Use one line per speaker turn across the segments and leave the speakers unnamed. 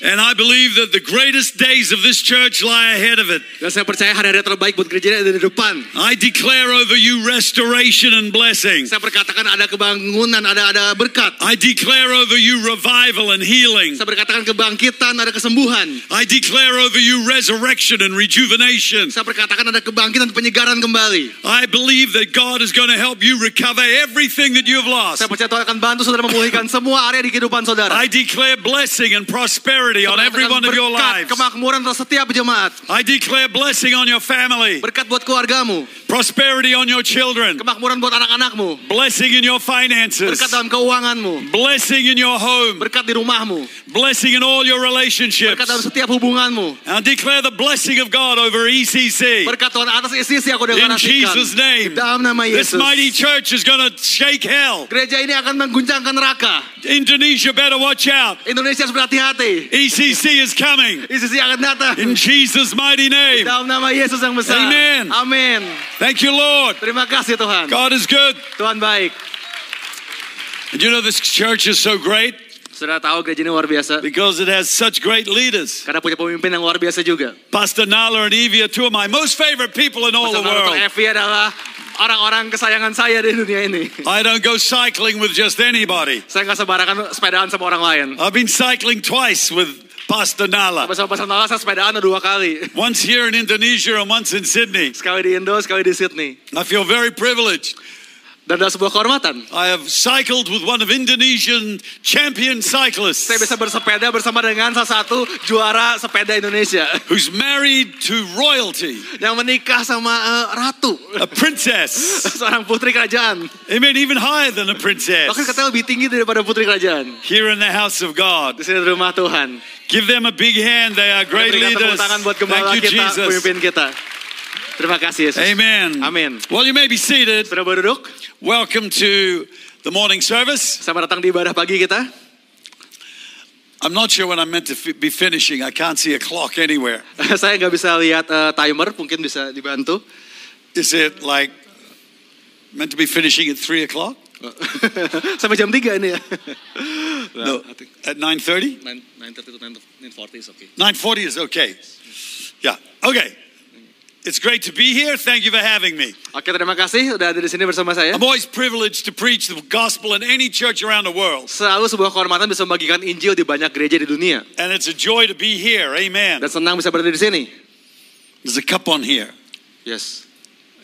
And I believe that the greatest days of this church lie ahead of it.
Dan saya percaya hari-hari terbaik buat gereja ada di depan.
I declare over you restoration and blessing.
Saya perkatakan ada kebangunan, ada ada berkat.
I declare over you revival and healing.
Saya perkatakan kebangkitan, ada kesembuhan.
I declare over you resurrection and rejuvenation.
Saya perkatakan ada kebangkitan, penyegaran kembali.
I believe that God is going to help you recover everything that you have lost.
Saya percaya Tuhan akan bantu saudara memulihkan semua area di kehidupan saudara.
I declare blessing and prosperity on
Saya
every
perkatakan
one of your
berkat,
lives.
kemakmuran atas setiap jemaat.
I declare blessing on your family,
Berkat buat keluargamu,
prosperity on your children,
kemakmuran buat anak-anakmu,
blessing in your finances,
berkat dalam keuanganmu,
blessing in your home,
berkat di rumahmu,
blessing in all your
berkat dalam
relationships.
setiap hubunganmu.
I declare the blessing of God over ECC.
Berkat Tuhan atas isi aku
In
deklarasikan.
Jesus'
Di
name,
dalam nama
this
Yesus.
mighty church is going to shake hell.
Gereja ini akan mengguncangkan neraka.
Indonesia better watch out.
Indonesia harus berhati-hati.
ECC is coming.
Isi akan datang.
In Jesus' mighty name.
Dalam nama Yesus yang besar.
Amen.
Amin.
Thank you, Lord.
Terima kasih Tuhan.
God is good.
Tuhan baik.
And you know, this church is so great
Saudara tahu gereja ini luar biasa.
because it has such great leaders.
Karena punya pemimpin yang luar biasa juga.
Pastor Nala and Evie are two of my most favorite people in all the
Pastor Naruto
world.
Evi adalah orang-orang kesayangan saya di dunia ini.
I don't go cycling with just anybody.
Saya nggak sembarangan sepedaan sama orang lain.
I've been cycling twice with Pastor Nala,
Bersama Pastor Nala saya sepedaan dua kali.
once here in Indonesia and once in Sydney.
Sekali di Indo, sekali di Sydney.
I feel very privileged.
Dan dalam sebuah kehormatan.
I have cycled with one of Indonesian champion
Saya bisa
cyclists
bersepeda bersama dengan salah satu juara sepeda Indonesia.
who's married to royalty,
Yang menikah sama eh, ratu.
a princess.
Seorang putri kerajaan.
Amen. Even higher than a
Bahkan
princess.
katanya lebih tinggi daripada putri kerajaan.
Here in the house of
Di
God.
sini di rumah Tuhan.
Give them a big hand. They are great
Berikan tepuk
leaders.
tangan buat gembala
Thank you,
kita,
Jesus.
pemimpin kita. Terima kasih Yesus.
Amen.
Amen.
Well, you may be seated.
Sudah berduduk,
Welcome to the morning service.
selamat datang di ibadah pagi kita.
I'm not sure when I'm meant to fi- be finishing. I can't see a clock anywhere.
Saya nggak bisa lihat eh, timer, mungkin bisa dibantu.
Is it like meant to be finishing at three o'clock?
Sampai jam 3 ini ya. Nah,
No, at 9:30.
9.30 to 9.40 is okay.
9:40 is okay. Yeah. Okay. It's great to be here. Thank you for having me.
Oke, terima kasih sudah ada di sini bersama saya.
I'm always privileged to preach the gospel in any church around the world.
Selalu sebuah kehormatan bisa membagikan Injil di banyak gereja di dunia.
And it's a joy to be here. Amen.
Dan senang bisa berada di sini.
There's a cup on here.
Yes.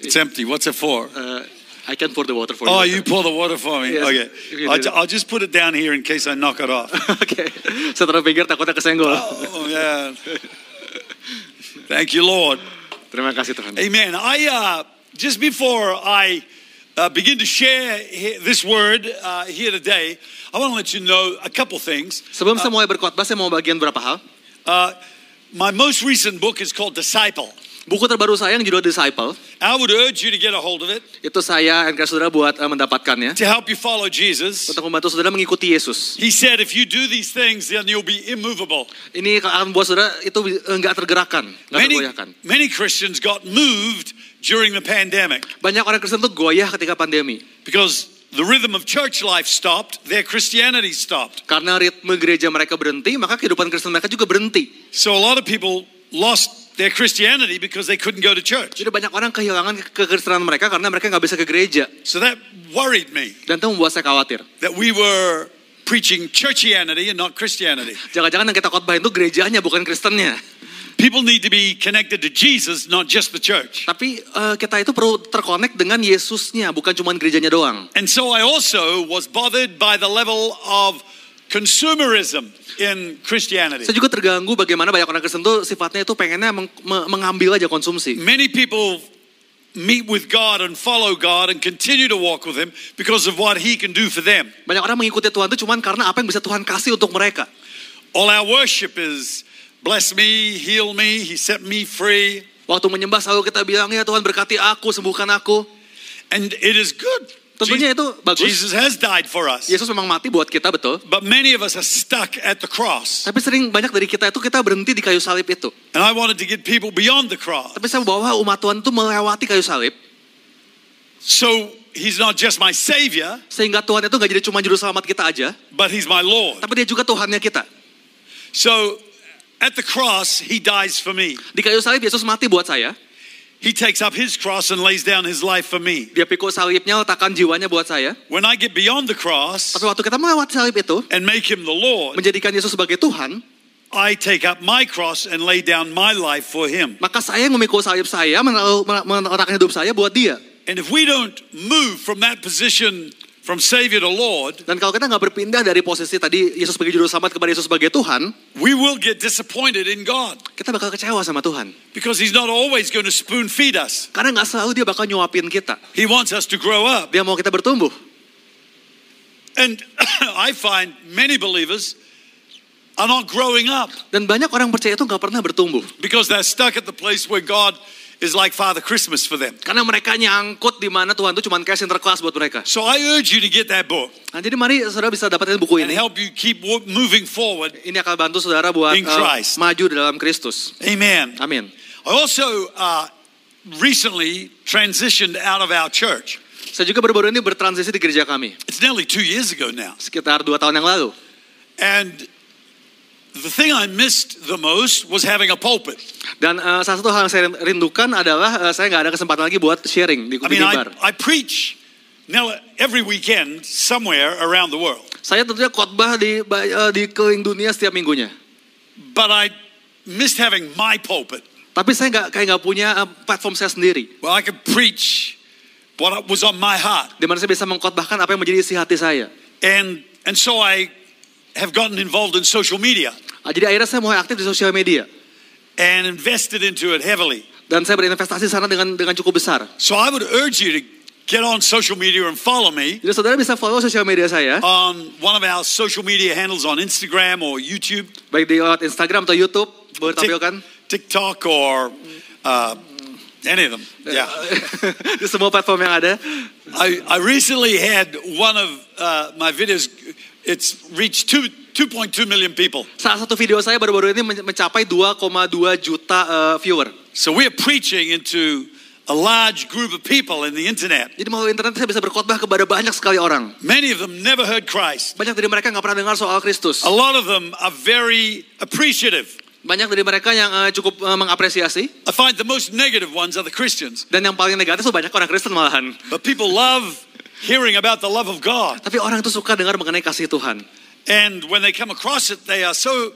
It's empty. What's it for?
Eh, I can pour the water for
Oh, you
you.
pour the water for me.
Yes, if
Okay.
you
I'll,
do.
ju- I'll just put it down here in case I knock it off.
Oke, saya taruh pinggir takutnya kesenggol.
oh, yeah. Thank you, Lord.
Terima kasih Tuhan.
Amen. I uh, just before I uh, begin to share he- this word uh, here today, I want to let you know a couple things.
Sebelum saya mulai berkhotbah, saya mau bagian berapa hal.
Uh, my most recent book is called Disciple.
Buku terbaru saya yang judul Disciple,
I would urge you to get a hold of it
itu saya encourage saudara buat eh, mendapatkannya.
to help you follow Jesus.
Untuk membantu saudara mengikuti Yesus.
He said, if you do these things, then you'll be immovable.
Ini akan membuat saudara itu eh, nggak tergerakkan, nggak
Many,
tergoyahkan.
many Christians got moved during the pandemic
Banyak orang Kristen tuh goyah ketika pandemi.
because the rhythm of church life stopped, their Christianity stopped.
Karena ritme gereja mereka berhenti, maka kehidupan Kristen mereka juga berhenti.
So a lot of people lost their Christianity because they couldn't go to church.
Jadi banyak orang kehilangan ke- kekristenan mereka karena mereka nggak bisa ke gereja.
So that worried me
Dan itu membuat saya khawatir.
that we were preaching churchianity and not Christianity.
Jangan-jangan yang kita khotbahin itu gerejanya bukan Kristennya.
People need to be connected to Jesus, not just the church.
Tapi eh, kita itu perlu terkonek dengan Yesusnya, bukan cuma gerejanya doang.
And so I also was bothered by the level of consumerism in Christianity.
Saya juga terganggu bagaimana banyak orang Kristen tuh sifatnya itu pengennya meng- me- mengambil aja konsumsi.
Many people meet with God and follow God and continue to walk with Him because of what He can do for them.
Banyak orang mengikuti Tuhan itu cuman karena apa yang bisa Tuhan kasih untuk mereka.
All our worship is bless me, heal me, He set me free.
Waktu menyembah selalu kita bilang, ya Tuhan berkati aku, sembuhkan aku.
And it is good.
Tentunya itu bagus.
Jesus has died for us.
Yesus memang mati buat kita, betul.
But many of us are stuck at the cross.
Tapi sering banyak dari kita itu kita berhenti di kayu salib itu.
And I wanted to get people beyond the cross.
Tapi saya bahwa umat Tuhan itu melewati kayu salib.
So He's not just my Savior,
Sehingga Tuhan itu nggak jadi cuma juru selamat kita aja.
but He's my Lord.
Tapi dia juga Tuhannya kita.
So At the cross, he dies for me.
Di kayu salib Yesus mati buat saya.
He takes up his cross and lays down his life for me.
Dia pikul salibnya, letakkan jiwanya buat saya.
When I get beyond the cross
Tapi waktu kita melewati salib itu,
and make him the Lord,
menjadikan Yesus sebagai Tuhan,
I take up my cross and lay down my life for him.
maka saya yang memikul salib saya, menaruh- meletakkan hidup saya buat dia.
And if we don't move from that position from Savior to Lord,
Dan kalau kita nggak berpindah dari posisi tadi Yesus sebagai juru selamat kepada Yesus sebagai Tuhan,
we will get disappointed in God
kita bakal kecewa sama Tuhan.
because he's not always going to spoon feed us.
Karena nggak selalu dia bakal nyuapin kita.
He wants us to grow up.
Dia mau kita bertumbuh.
And I find many believers are not growing up
Dan banyak orang percaya itu nggak pernah bertumbuh.
because they're stuck at the place where God is like Father Christmas for them.
Karena mereka nyangkut di mana Tuhan itu cuma kayak center class buat mereka.
So I urge you to get that book
Nah, jadi mari saudara bisa dapatin buku
and
ini.
help you keep wo- moving forward.
Ini akan bantu saudara buat
In
eh,
Christ.
maju dalam Kristus.
Amen.
Amin.
I also uh, recently transitioned out of our church.
Saya juga baru-baru ini bertransisi di gereja kami.
It's nearly two years ago now.
Sekitar dua tahun yang lalu.
And the thing I missed the most was having a pulpit.
Dan eh, salah satu hal yang saya rindukan adalah eh, saya nggak ada kesempatan lagi buat sharing di,
I
di
mean, I,
mimbar.
I preach now every weekend somewhere around the world,
Saya tentunya khotbah di ba- eh, di keliling dunia setiap minggunya.
but I missed having my pulpit.
Tapi saya nggak kayak nggak punya eh, platform saya sendiri.
Well, I could preach what was on my heart.
Di mana saya bisa mengkhotbahkan apa yang menjadi isi hati saya.
And, and so I have gotten involved in social media
Ah, Jadi akhirnya saya mulai aktif di sosial media.
and invested into it heavily.
Dan saya berinvestasi di sana dengan dengan cukup besar.
So I would urge you to get on social media and follow me
Jadi saudara bisa follow sosial media saya.
on one of our social media handles on Instagram or YouTube,
Baik di lewat Instagram atau Youtube. Boleh
Tik-
tampilkan.
TikTok or uh, any of them. Yeah.
di semua platform yang ada.
I, I recently had one of uh, my videos, it's reached two, 2.2 million people.
Salah satu video saya baru-baru ini men- mencapai 2,2 juta eh, viewer.
So we're preaching into a large group of people in the internet.
Jadi melalui internet saya bisa berkhotbah kepada banyak sekali orang.
Many of them never heard Christ.
Banyak dari mereka nggak pernah dengar soal Kristus.
A lot of them are very appreciative.
Banyak dari mereka yang eh, cukup eh, mengapresiasi.
I find the most negative ones are the Christians.
Dan yang paling negatif tuh banyak orang Kristen malahan.
But people love hearing about the love of God.
Tapi orang itu suka dengar mengenai kasih Tuhan.
And when they come across it, they are so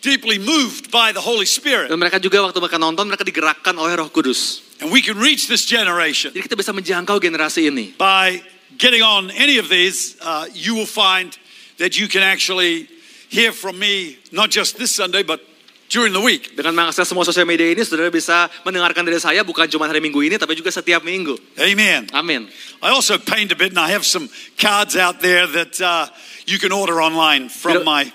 deeply moved by the Holy Spirit.
Dan mereka juga waktu mereka nonton, mereka digerakkan oleh roh kudus.
And we can reach this generation.
Jadi kita bisa menjangkau generasi ini.
By getting on any of these, uh, you will find that you can actually hear from me, not just this Sunday, but during the week.
Dengan mengakses semua sosial media ini, saudara bisa mendengarkan dari saya bukan cuma hari minggu ini, tapi juga setiap minggu.
Amen.
Amin.
I also paint a bit, and I have some cards out there that uh, you can order online
You
from
know-
my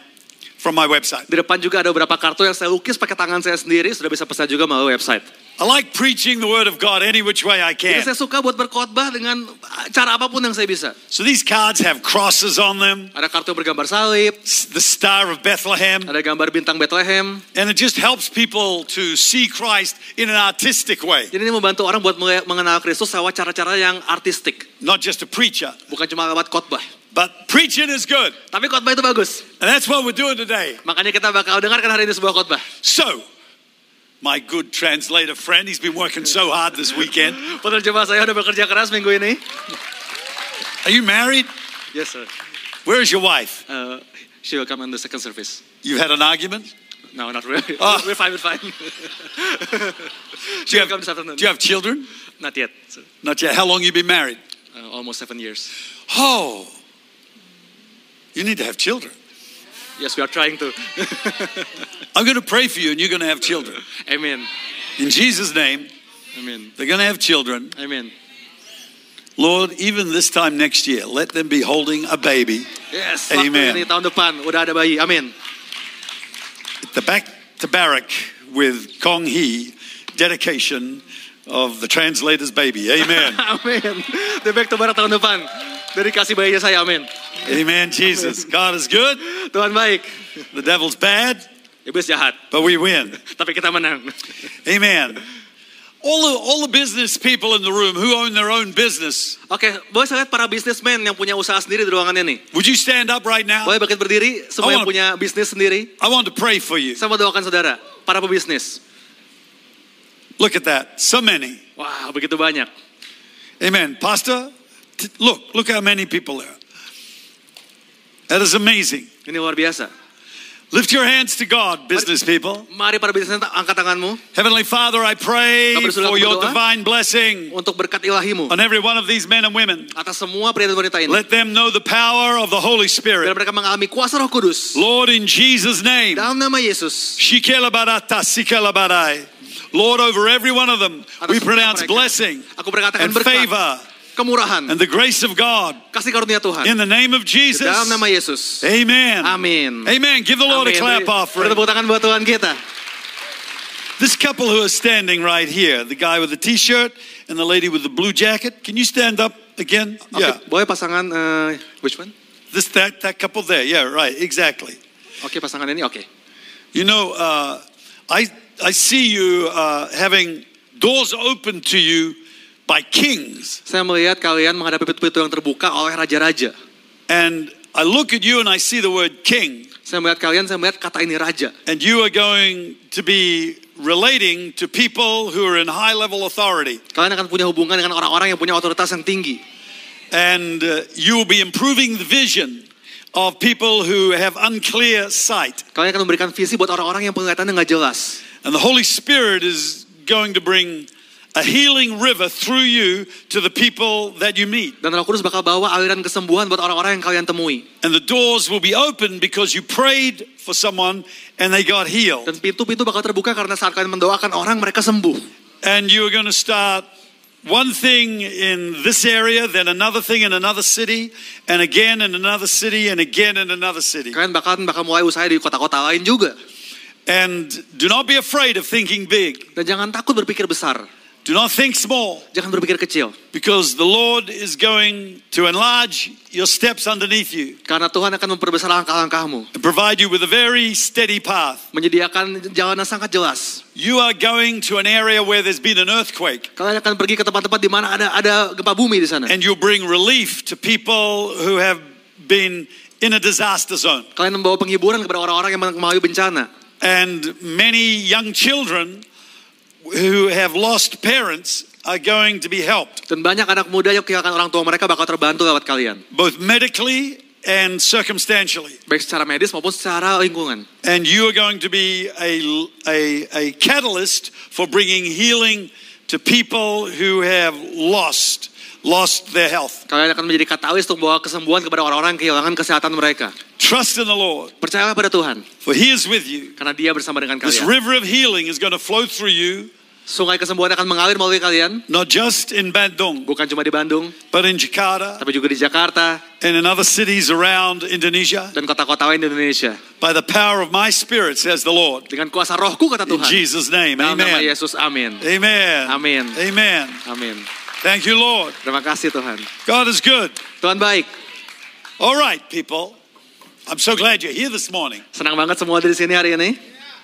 from my website.
Di depan juga ada beberapa kartu yang saya lukis pakai tangan saya sendiri, sudah bisa pesan juga melalui website.
I like preaching the word of God any which way I
Jadi
can.
saya suka buat berkhotbah dengan cara apapun yang saya bisa.
So these cards have crosses on them,
Ada kartu yang bergambar salib,
s- the Star of Bethlehem,
ada gambar bintang Bethlehem.
and it just helps people to see Christ in an artistic way,
Jadi ini membantu orang buat mulai mengenal Kristus lewat cara-cara yang artistik,
not just a preacher.
bukan cuma lewat khotbah.
But preaching is good,
Tapi khotbah itu bagus.
and that's what we're doing today.
Makanya kita bakal dengarkan hari ini sebuah khotbah.
So, my good translator friend, he's been working so hard this weekend.
Penerjemah saya udah bekerja keras minggu ini.
Are you married?
Yes sir.
Where is your wife?
Uh, she will come on the second service.
You had an argument?
No, not really.
Ah.
We're fine, we're fine.
Do
she
you
will
have,
come this afternoon.
do you have children?
Not yet. sir.
Not yet. How long you been married?
Uh, almost seven years.
Oh, you need to have children.
Yes, we are trying to.
I'm going to pray for you, and you're going to have children.
Amen.
In Jesus' name,
Amen.
they're going to have children.
Amen.
Lord, even this time next year, let them be holding a baby.
Yes.
Amen.
Waktu ini tahun depan udah ada bayi. Amin.
The back to barrack with Kong Hee, dedication of the translator's baby. Amen.
Amin. The back to barat tahun depan. Dari kasih bayinya saya. Amin.
Amen, Jesus. God is good.
Tuhan baik.
The devil's bad,
Iblis jahat.
but we win.
Tapi kita menang.
Amen. all the, all the business people in the room who own their own business,
Oke, boleh saya lihat para businessman yang punya usaha sendiri di ruangannya nih.
would you stand up right now?
Boleh bangkit berdiri, semua
Awal.
yang punya bisnis sendiri.
I want to pray for you.
Sama doakan saudara, para pebisnis.
Look at that. So many.
Wah, begitu banyak.
Amen. Pastor, t- look, look how many people there. are. That is amazing.
Ini luar biasa.
Lift your hands to God, business people.
Mari para bisnismen angkat tanganmu
Heavenly Father, I pray
Kami bersunat
for your
berdoa.
divine blessing
untuk berkat ilahimu
on every one of these men and women.
atas semua pria dan wanita ini.
Let them know the power of the Holy Spirit.
Biar mereka mengalami kuasa Roh Kudus
Lord, in Jesus' name.
dalam nama Yesus.
Shikelabarata, sikelabarai. Lord, over every one of them,
Atas
we
semua
pronounce
mereka.
blessing
Aku berkatakan
and
berkat,
favor
kemurahan,
and the grace of God
kasih karunia Tuhan
in the name of Jesus.
dalam nama Yesus.
Amen.
Amin.
Amen. Give the Lord a
Amin.
clap
Beri- beri
offering.
tepuk tangan buat Tuhan kita.
This couple who are standing right here, the guy with the t-shirt and the lady with the blue jacket, can you stand up again?
Oke,
Yeah.
boleh pasangan eh, which one?
This that that couple there. Yeah, right. Exactly.
Oke, pasangan ini oke.
You know, uh, I I see you uh, having doors open to you by kings,
Saya melihat kalian menghadapi pintu-pintu yang terbuka oleh raja-raja.
and I look at you and I see the word king,
Saya melihat kalian, saya melihat kata ini raja.
and you are going to be relating to people who are in high level authority,
Kalian akan punya hubungan dengan orang-orang yang punya otoritas yang tinggi.
and uh, you will be improving the vision of people who have unclear sight,
Kalian akan memberikan visi buat orang-orang yang penglihatannya nggak jelas.
and the Holy Spirit is going to bring. A healing river through you to the people that you meet.
Dan Roh Kudus bakal bawa aliran kesembuhan buat orang-orang yang kalian temui.
And the doors will be open because you prayed for someone and they got healed.
Dan pintu-pintu bakal terbuka karena saat kalian mendoakan orang, mereka sembuh.
And you are going to start one thing in this area, then another thing in another city, and again in another city, and again in another city.
Kalian bakal, bakal mulai usaha di kota-kota lain juga.
And do not be afraid of thinking big.
Dan jangan takut berpikir besar.
Do not think small
Jangan berpikir kecil.
because the Lord is going to enlarge your steps underneath you
Karena Tuhan akan memperbesar langkah-langkahmu.
and provide you with a very steady path.
Menyediakan jalan yang sangat jelas.
You are going to an area where there's been an earthquake.
Kalian akan pergi ke tempat-tempat di mana ada ada gempa bumi di sana.
and you'll bring relief to people who have been in a disaster zone.
Kalian membawa penghiburan kepada orang-orang yang mengalami bencana.
And many young children who have lost parents are going to be helped,
Dan banyak anak muda yang kehilangan orang tua mereka bakal terbantu lewat kalian.
both medically and circumstantially.
Baik secara medis maupun secara lingkungan.
And you are going to be a, a, a catalyst for bringing healing to people who have lost lost their health.
Kalian akan menjadi katalis untuk membawa kesembuhan kepada orang-orang yang kehilangan kesehatan mereka.
Trust in the Lord,
Percayalah pada Tuhan,
for He is with you.
karena dia bersama dengan
This
kalian.
river of healing is going to flow through you,
Sungai kesembuhan akan mengalir melalui kalian,
not just in Bandung,
bukan cuma di Bandung,
but in Jakarta
tapi juga di Jakarta
and in other cities around Indonesia
dan kota-kota lain di Indonesia.
by the power of my spirit, says the Lord.
Dengan kuasa rohku kata
In
Tuhan.
Jesus' name,
Dalam nama
amen.
Yesus, amin.
Amen.
Amen.
Amen.
Amin.
Thank you, Lord.
Terima kasih Tuhan.
God is good.
Tuhan baik.
All right, people. I'm so glad you're here this morning
Senang banget semua ada di sini hari ini.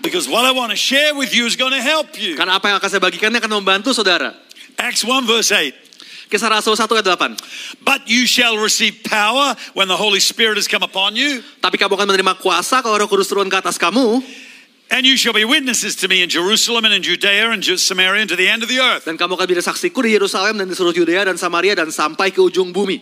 because what I want to share with you is going to help you.
Karena apa yang akan saya bagikan ini akan membantu saudara.
Acts 1, verse 8.
Kisah Rasul 1 ayat 8.
But you shall receive power when the Holy Spirit has come upon you,
Tapi kamu akan menerima kuasa kalau roh kudus turun ke atas kamu.
and you shall be witnesses to me in Jerusalem and in Judea and Ju- Samaria and to the end of the earth.
Dan kamu akan menjadi saksiku di Yerusalem dan di seluruh Yudea dan Samaria dan sampai ke ujung bumi.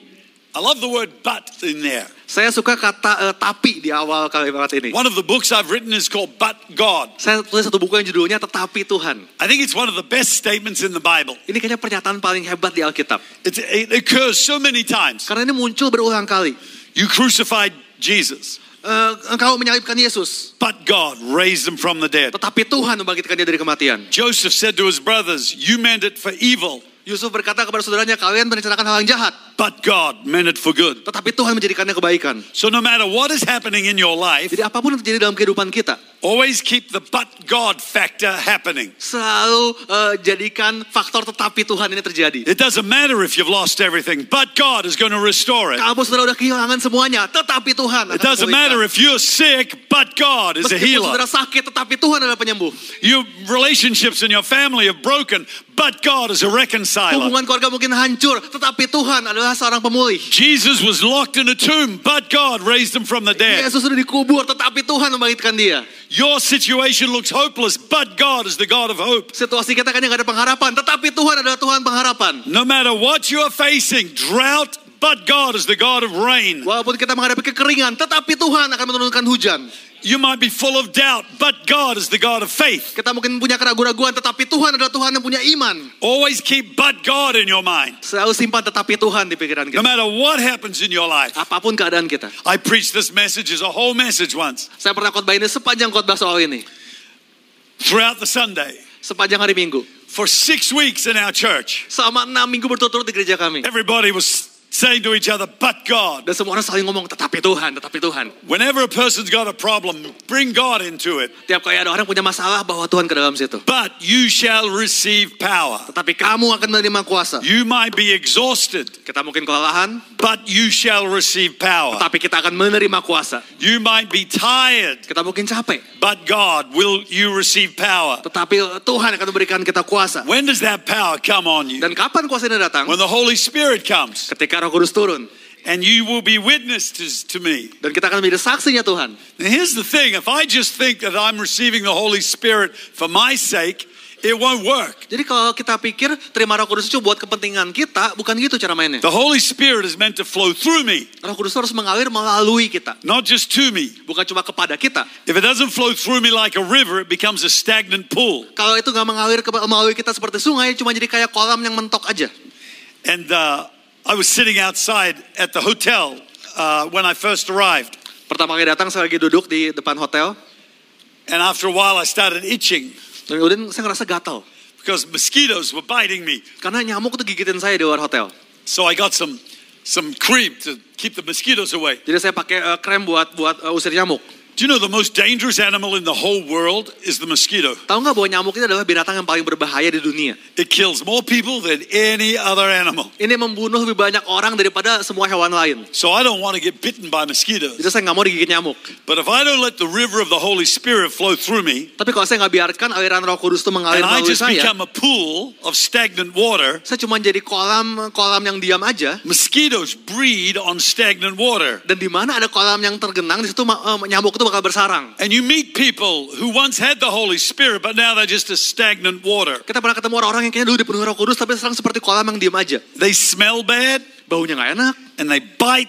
I love the word but in there.
Saya suka kata eh, tapi di awal kalimat ini.
One of the books I've written is called But God.
Saya tulis satu buku yang judulnya Tetapi Tuhan.
I think it's one of the best statements in the Bible.
Ini kayaknya pernyataan paling hebat di Alkitab.
It, it occurs so many times.
Karena ini muncul berulang kali.
You crucified Jesus,
Eh, engkau menyalibkan Yesus.
but God raised him from the dead.
Tetapi Tuhan membangkitkannya dari kematian.
Joseph said to his brothers, You meant it for evil,
Yusuf berkata kepada saudaranya, kalian merencanakan hal yang jahat.
but God meant it for good.
Tetapi Tuhan menjadikannya kebaikan.
So no matter what is happening in your life,
Jadi apapun yang terjadi dalam kehidupan kita,
Always keep the but God factor happening.
Selalu eh, jadikan faktor tetapi Tuhan ini terjadi.
It doesn't matter if you've lost everything, but God is going to restore it.
Kamu saudara udah kehilangan semuanya, tetapi Tuhan akan
It doesn't
memulihkan.
matter if you're sick, but God is a
Meskipun
healer.
saudara sakit, tetapi Tuhan adalah penyembuh.
Your relationships in your family are broken, but God is a reconciler.
Hubungan keluarga mungkin hancur, tetapi Tuhan adalah seorang pemulih.
Jesus was locked in a tomb, but God raised him from the dead.
Yesus sudah dikubur, tetapi Tuhan membangkitkan dia.
Your situation looks hopeless, but God is the God of hope.
Situasi kita kayaknya nggak ada pengharapan, tetapi Tuhan adalah Tuhan pengharapan.
No matter what you are facing, drought, but God is the God of rain.
Walaupun kita menghadapi kekeringan, tetapi Tuhan akan menurunkan hujan.
You might be full of doubt, but God is the God of faith.
Kita mungkin punya keraguan-raguan, tetapi Tuhan adalah Tuhan yang punya iman.
Always keep but God in your mind,
Selalu simpan tetapi Tuhan di pikiran
no
kita.
matter what happens in your life.
Apapun keadaan kita.
I preached this message as a whole message once
Saya pernah khotbah ini sepanjang khotbah soal ini.
throughout the Sunday
Sepanjang hari Minggu.
for six weeks in our church.
Selama enam minggu berturut-turut di gereja kami.
Everybody was saying to each other, but God.
Dan semua orang saling ngomong, tetapi Tuhan, tetapi Tuhan.
Whenever a person's got a problem, bring God into it.
Tiap kali ada orang punya masalah, bawa Tuhan ke dalam situ.
But you shall receive power.
Tetapi kamu akan menerima kuasa.
You might be exhausted,
Kita mungkin kelelahan,
but you shall receive power.
tapi kita akan menerima kuasa.
You might be tired,
Kita mungkin capek,
but God will you receive power.
tetapi Tuhan akan memberikan kita kuasa.
When does that power come on you?
Dan kapan kuasa ini datang?
When the Holy Spirit comes,
Ketika roh kudus turun.
and you will be witnesses to me.
Dan kita akan menjadi saksinya Tuhan.
And here's the thing if I just think that I'm receiving the Holy Spirit for my sake, it won't work.
Jadi kalau kita pikir terima roh kudus itu buat kepentingan kita, bukan gitu cara mainnya.
The Holy Spirit is meant to flow through me,
Roh Kudus harus mengalir melalui kita,
not just to me.
bukan cuma kepada kita.
If it doesn't flow through me like a river, it becomes a stagnant pool.
Kalau itu nggak mengalir ke melalui kita seperti sungai, cuma jadi kayak kolam yang mentok aja.
And uh, I was sitting outside at the hotel uh, when I first arrived.
Pertama kali datang saya lagi duduk di depan hotel,
And after a while, I started itching
dan kemudian saya ngerasa gatal
because mosquitoes were biting me.
karena nyamuk tuh gigitin saya di luar hotel.
So I got some, some cream to keep the mosquitoes away.
Jadi saya pakai eh, krem buat buat eh, usir nyamuk.
Do you know the most dangerous animal in the whole world is the mosquito?
Tahu nggak bahwa nyamuk ini adalah binatang yang paling berbahaya di dunia.
It kills more people than any other animal.
Ini membunuh lebih banyak orang daripada semua hewan lain.
So I don't want to get bitten by
Jadi
mosquitoes.
saya nggak mau digigit nyamuk.
But if I don't let the river of the Holy Spirit flow through me,
Tapi kalau saya nggak biarkan aliran Roh Kudus itu mengalir
and I
melalui
just
saya,
become a pool of stagnant water,
saya cuma jadi kolam kolam yang diam aja.
Mosquitoes breed on stagnant water.
dan di mana ada kolam yang tergenang di situ ma- eh, nyamuk itu bakal bersarang.
And you meet people who once had the Holy Spirit, but now they're just a stagnant water.
Kita pernah ketemu orang-orang yang kayaknya dulu dipenuhi Roh Kudus tapi sekarang seperti kolam yang diem aja.
They smell bad
Baunya nggak enak
and they bite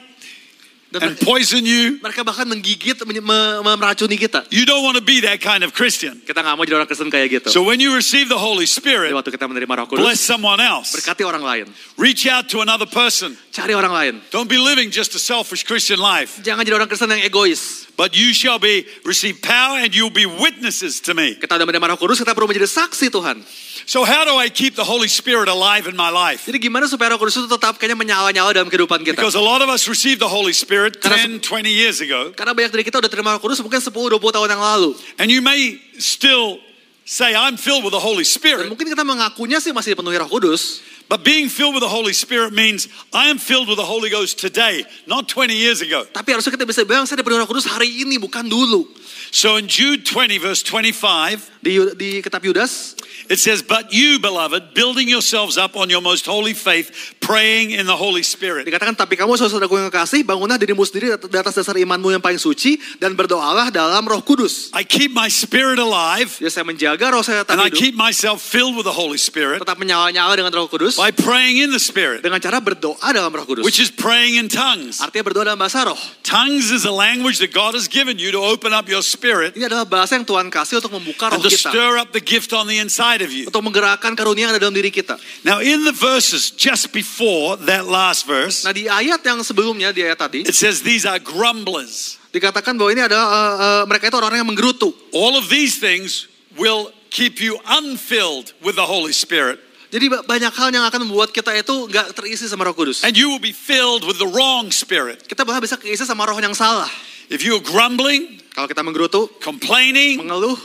and
dan mere-
poison you.
mereka bahkan menggigit menye- me- me- meracuni kita.
You don't want to be that kind of Christian.
Kita nggak mau jadi orang Kristen kayak gitu.
So when you receive the Holy
Jadi
Spirit,
waktu kita menerima Roh
bless
Kudus,
someone else.
berkati orang lain,
Reach out to another person.
cari orang lain.
Don't be living just a selfish Christian life,
Jangan jadi orang Kristen yang egois.
but you shall be receive power and you'll be witnesses to me.
Kita udah menerima Roh Kudus, kita perlu menjadi saksi Tuhan.
So how do I keep the Holy Spirit alive in my life?
Jadi gimana supaya Roh Kudus itu tetap kayaknya menyala-nyala dalam kehidupan kita?
Because a lot of us received the Holy Spirit
Karena-
10, 20 years ago,
Karena banyak dari kita udah terima Roh Kudus mungkin 10-20 tahun yang lalu.
and you may still say, I'm filled with the Holy
Dan
Spirit.
mungkin kita mengakunya sih masih dipenuhi Roh Kudus.
But being filled with the Holy Spirit means I am filled with the Holy Ghost today, not 20 years ago.
Tapi harusnya kita bisa bilang saya dipenuhi Roh Kudus hari ini bukan dulu.
So in Jude 20, verse 25,
Di, di kitab Yudas
it says, But you, beloved, building yourselves up on your most holy faith, praying in the Holy Spirit.
dikatakan tapi kamu saudaraku yang kekasih bangunlah dirimu sendiri di atas dasar imanmu yang paling suci dan berdoalah dalam Roh Kudus.
I keep my spirit alive,
Ya saya menjaga roh saya tetap
and I
hidup,
keep myself filled with the Holy Spirit
tetap menyala-nyala dengan Roh Kudus
by praying in the Spirit,
dengan cara berdoa dalam Roh Kudus.
which is praying in tongues.
Artinya berdoa dalam bahasa roh.
Tongues is a language that God has given you to open up your spirit
Ini adalah bahasa yang Tuhan kasih untuk membuka roh
and to
kita,
stir up the gift on the inside of you.
untuk menggerakkan karunia yang ada dalam diri kita.
Now, in the verses just before that last verse,
Nah di ayat yang sebelumnya di ayat tadi
it says these are grumblers.
dikatakan bahwa ini adalah eh, eh, mereka itu orang yang menggerutu.
All of these things will keep you unfilled with the Holy Spirit,
Jadi ba- banyak hal yang akan membuat kita itu nggak terisi sama Roh Kudus.
and you will be filled with the wrong spirit.
Kita malah bisa keisi sama roh yang salah.
If you are grumbling,
Kalau kita menggerutu,
complaining,
mengeluh,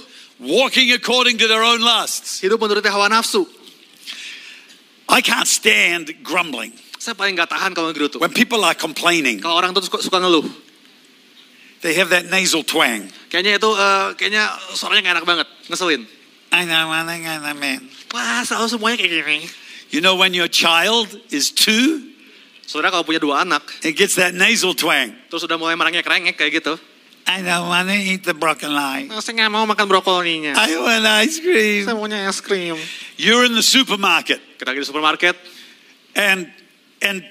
walking according to their own lusts.
hidup menurut hawa nafsu.
I can't stand grumbling.
Saya paling nggak tahan kalau menggerutu.
When people are complaining,
Kalau orang tuh suka, suka ngeluh.
they have that nasal twang.
Kayaknya itu, eh, kayaknya suaranya nggak enak banget. Ngeselin.
I know, I think I know, man.
Wah, selalu semuanya kayak gini.
You know, when your child is two,
Saudara kalau punya dua anak,
it gets that nasal twang.
terus udah mulai merengek-rengek kayak gitu.
I don't want to eat the broccoli.
Nah, saya nggak mau makan brokolinya.
I want ice
Saya
cream.
maunya es krim.
You're in the supermarket
Kita lagi di supermarket,
and and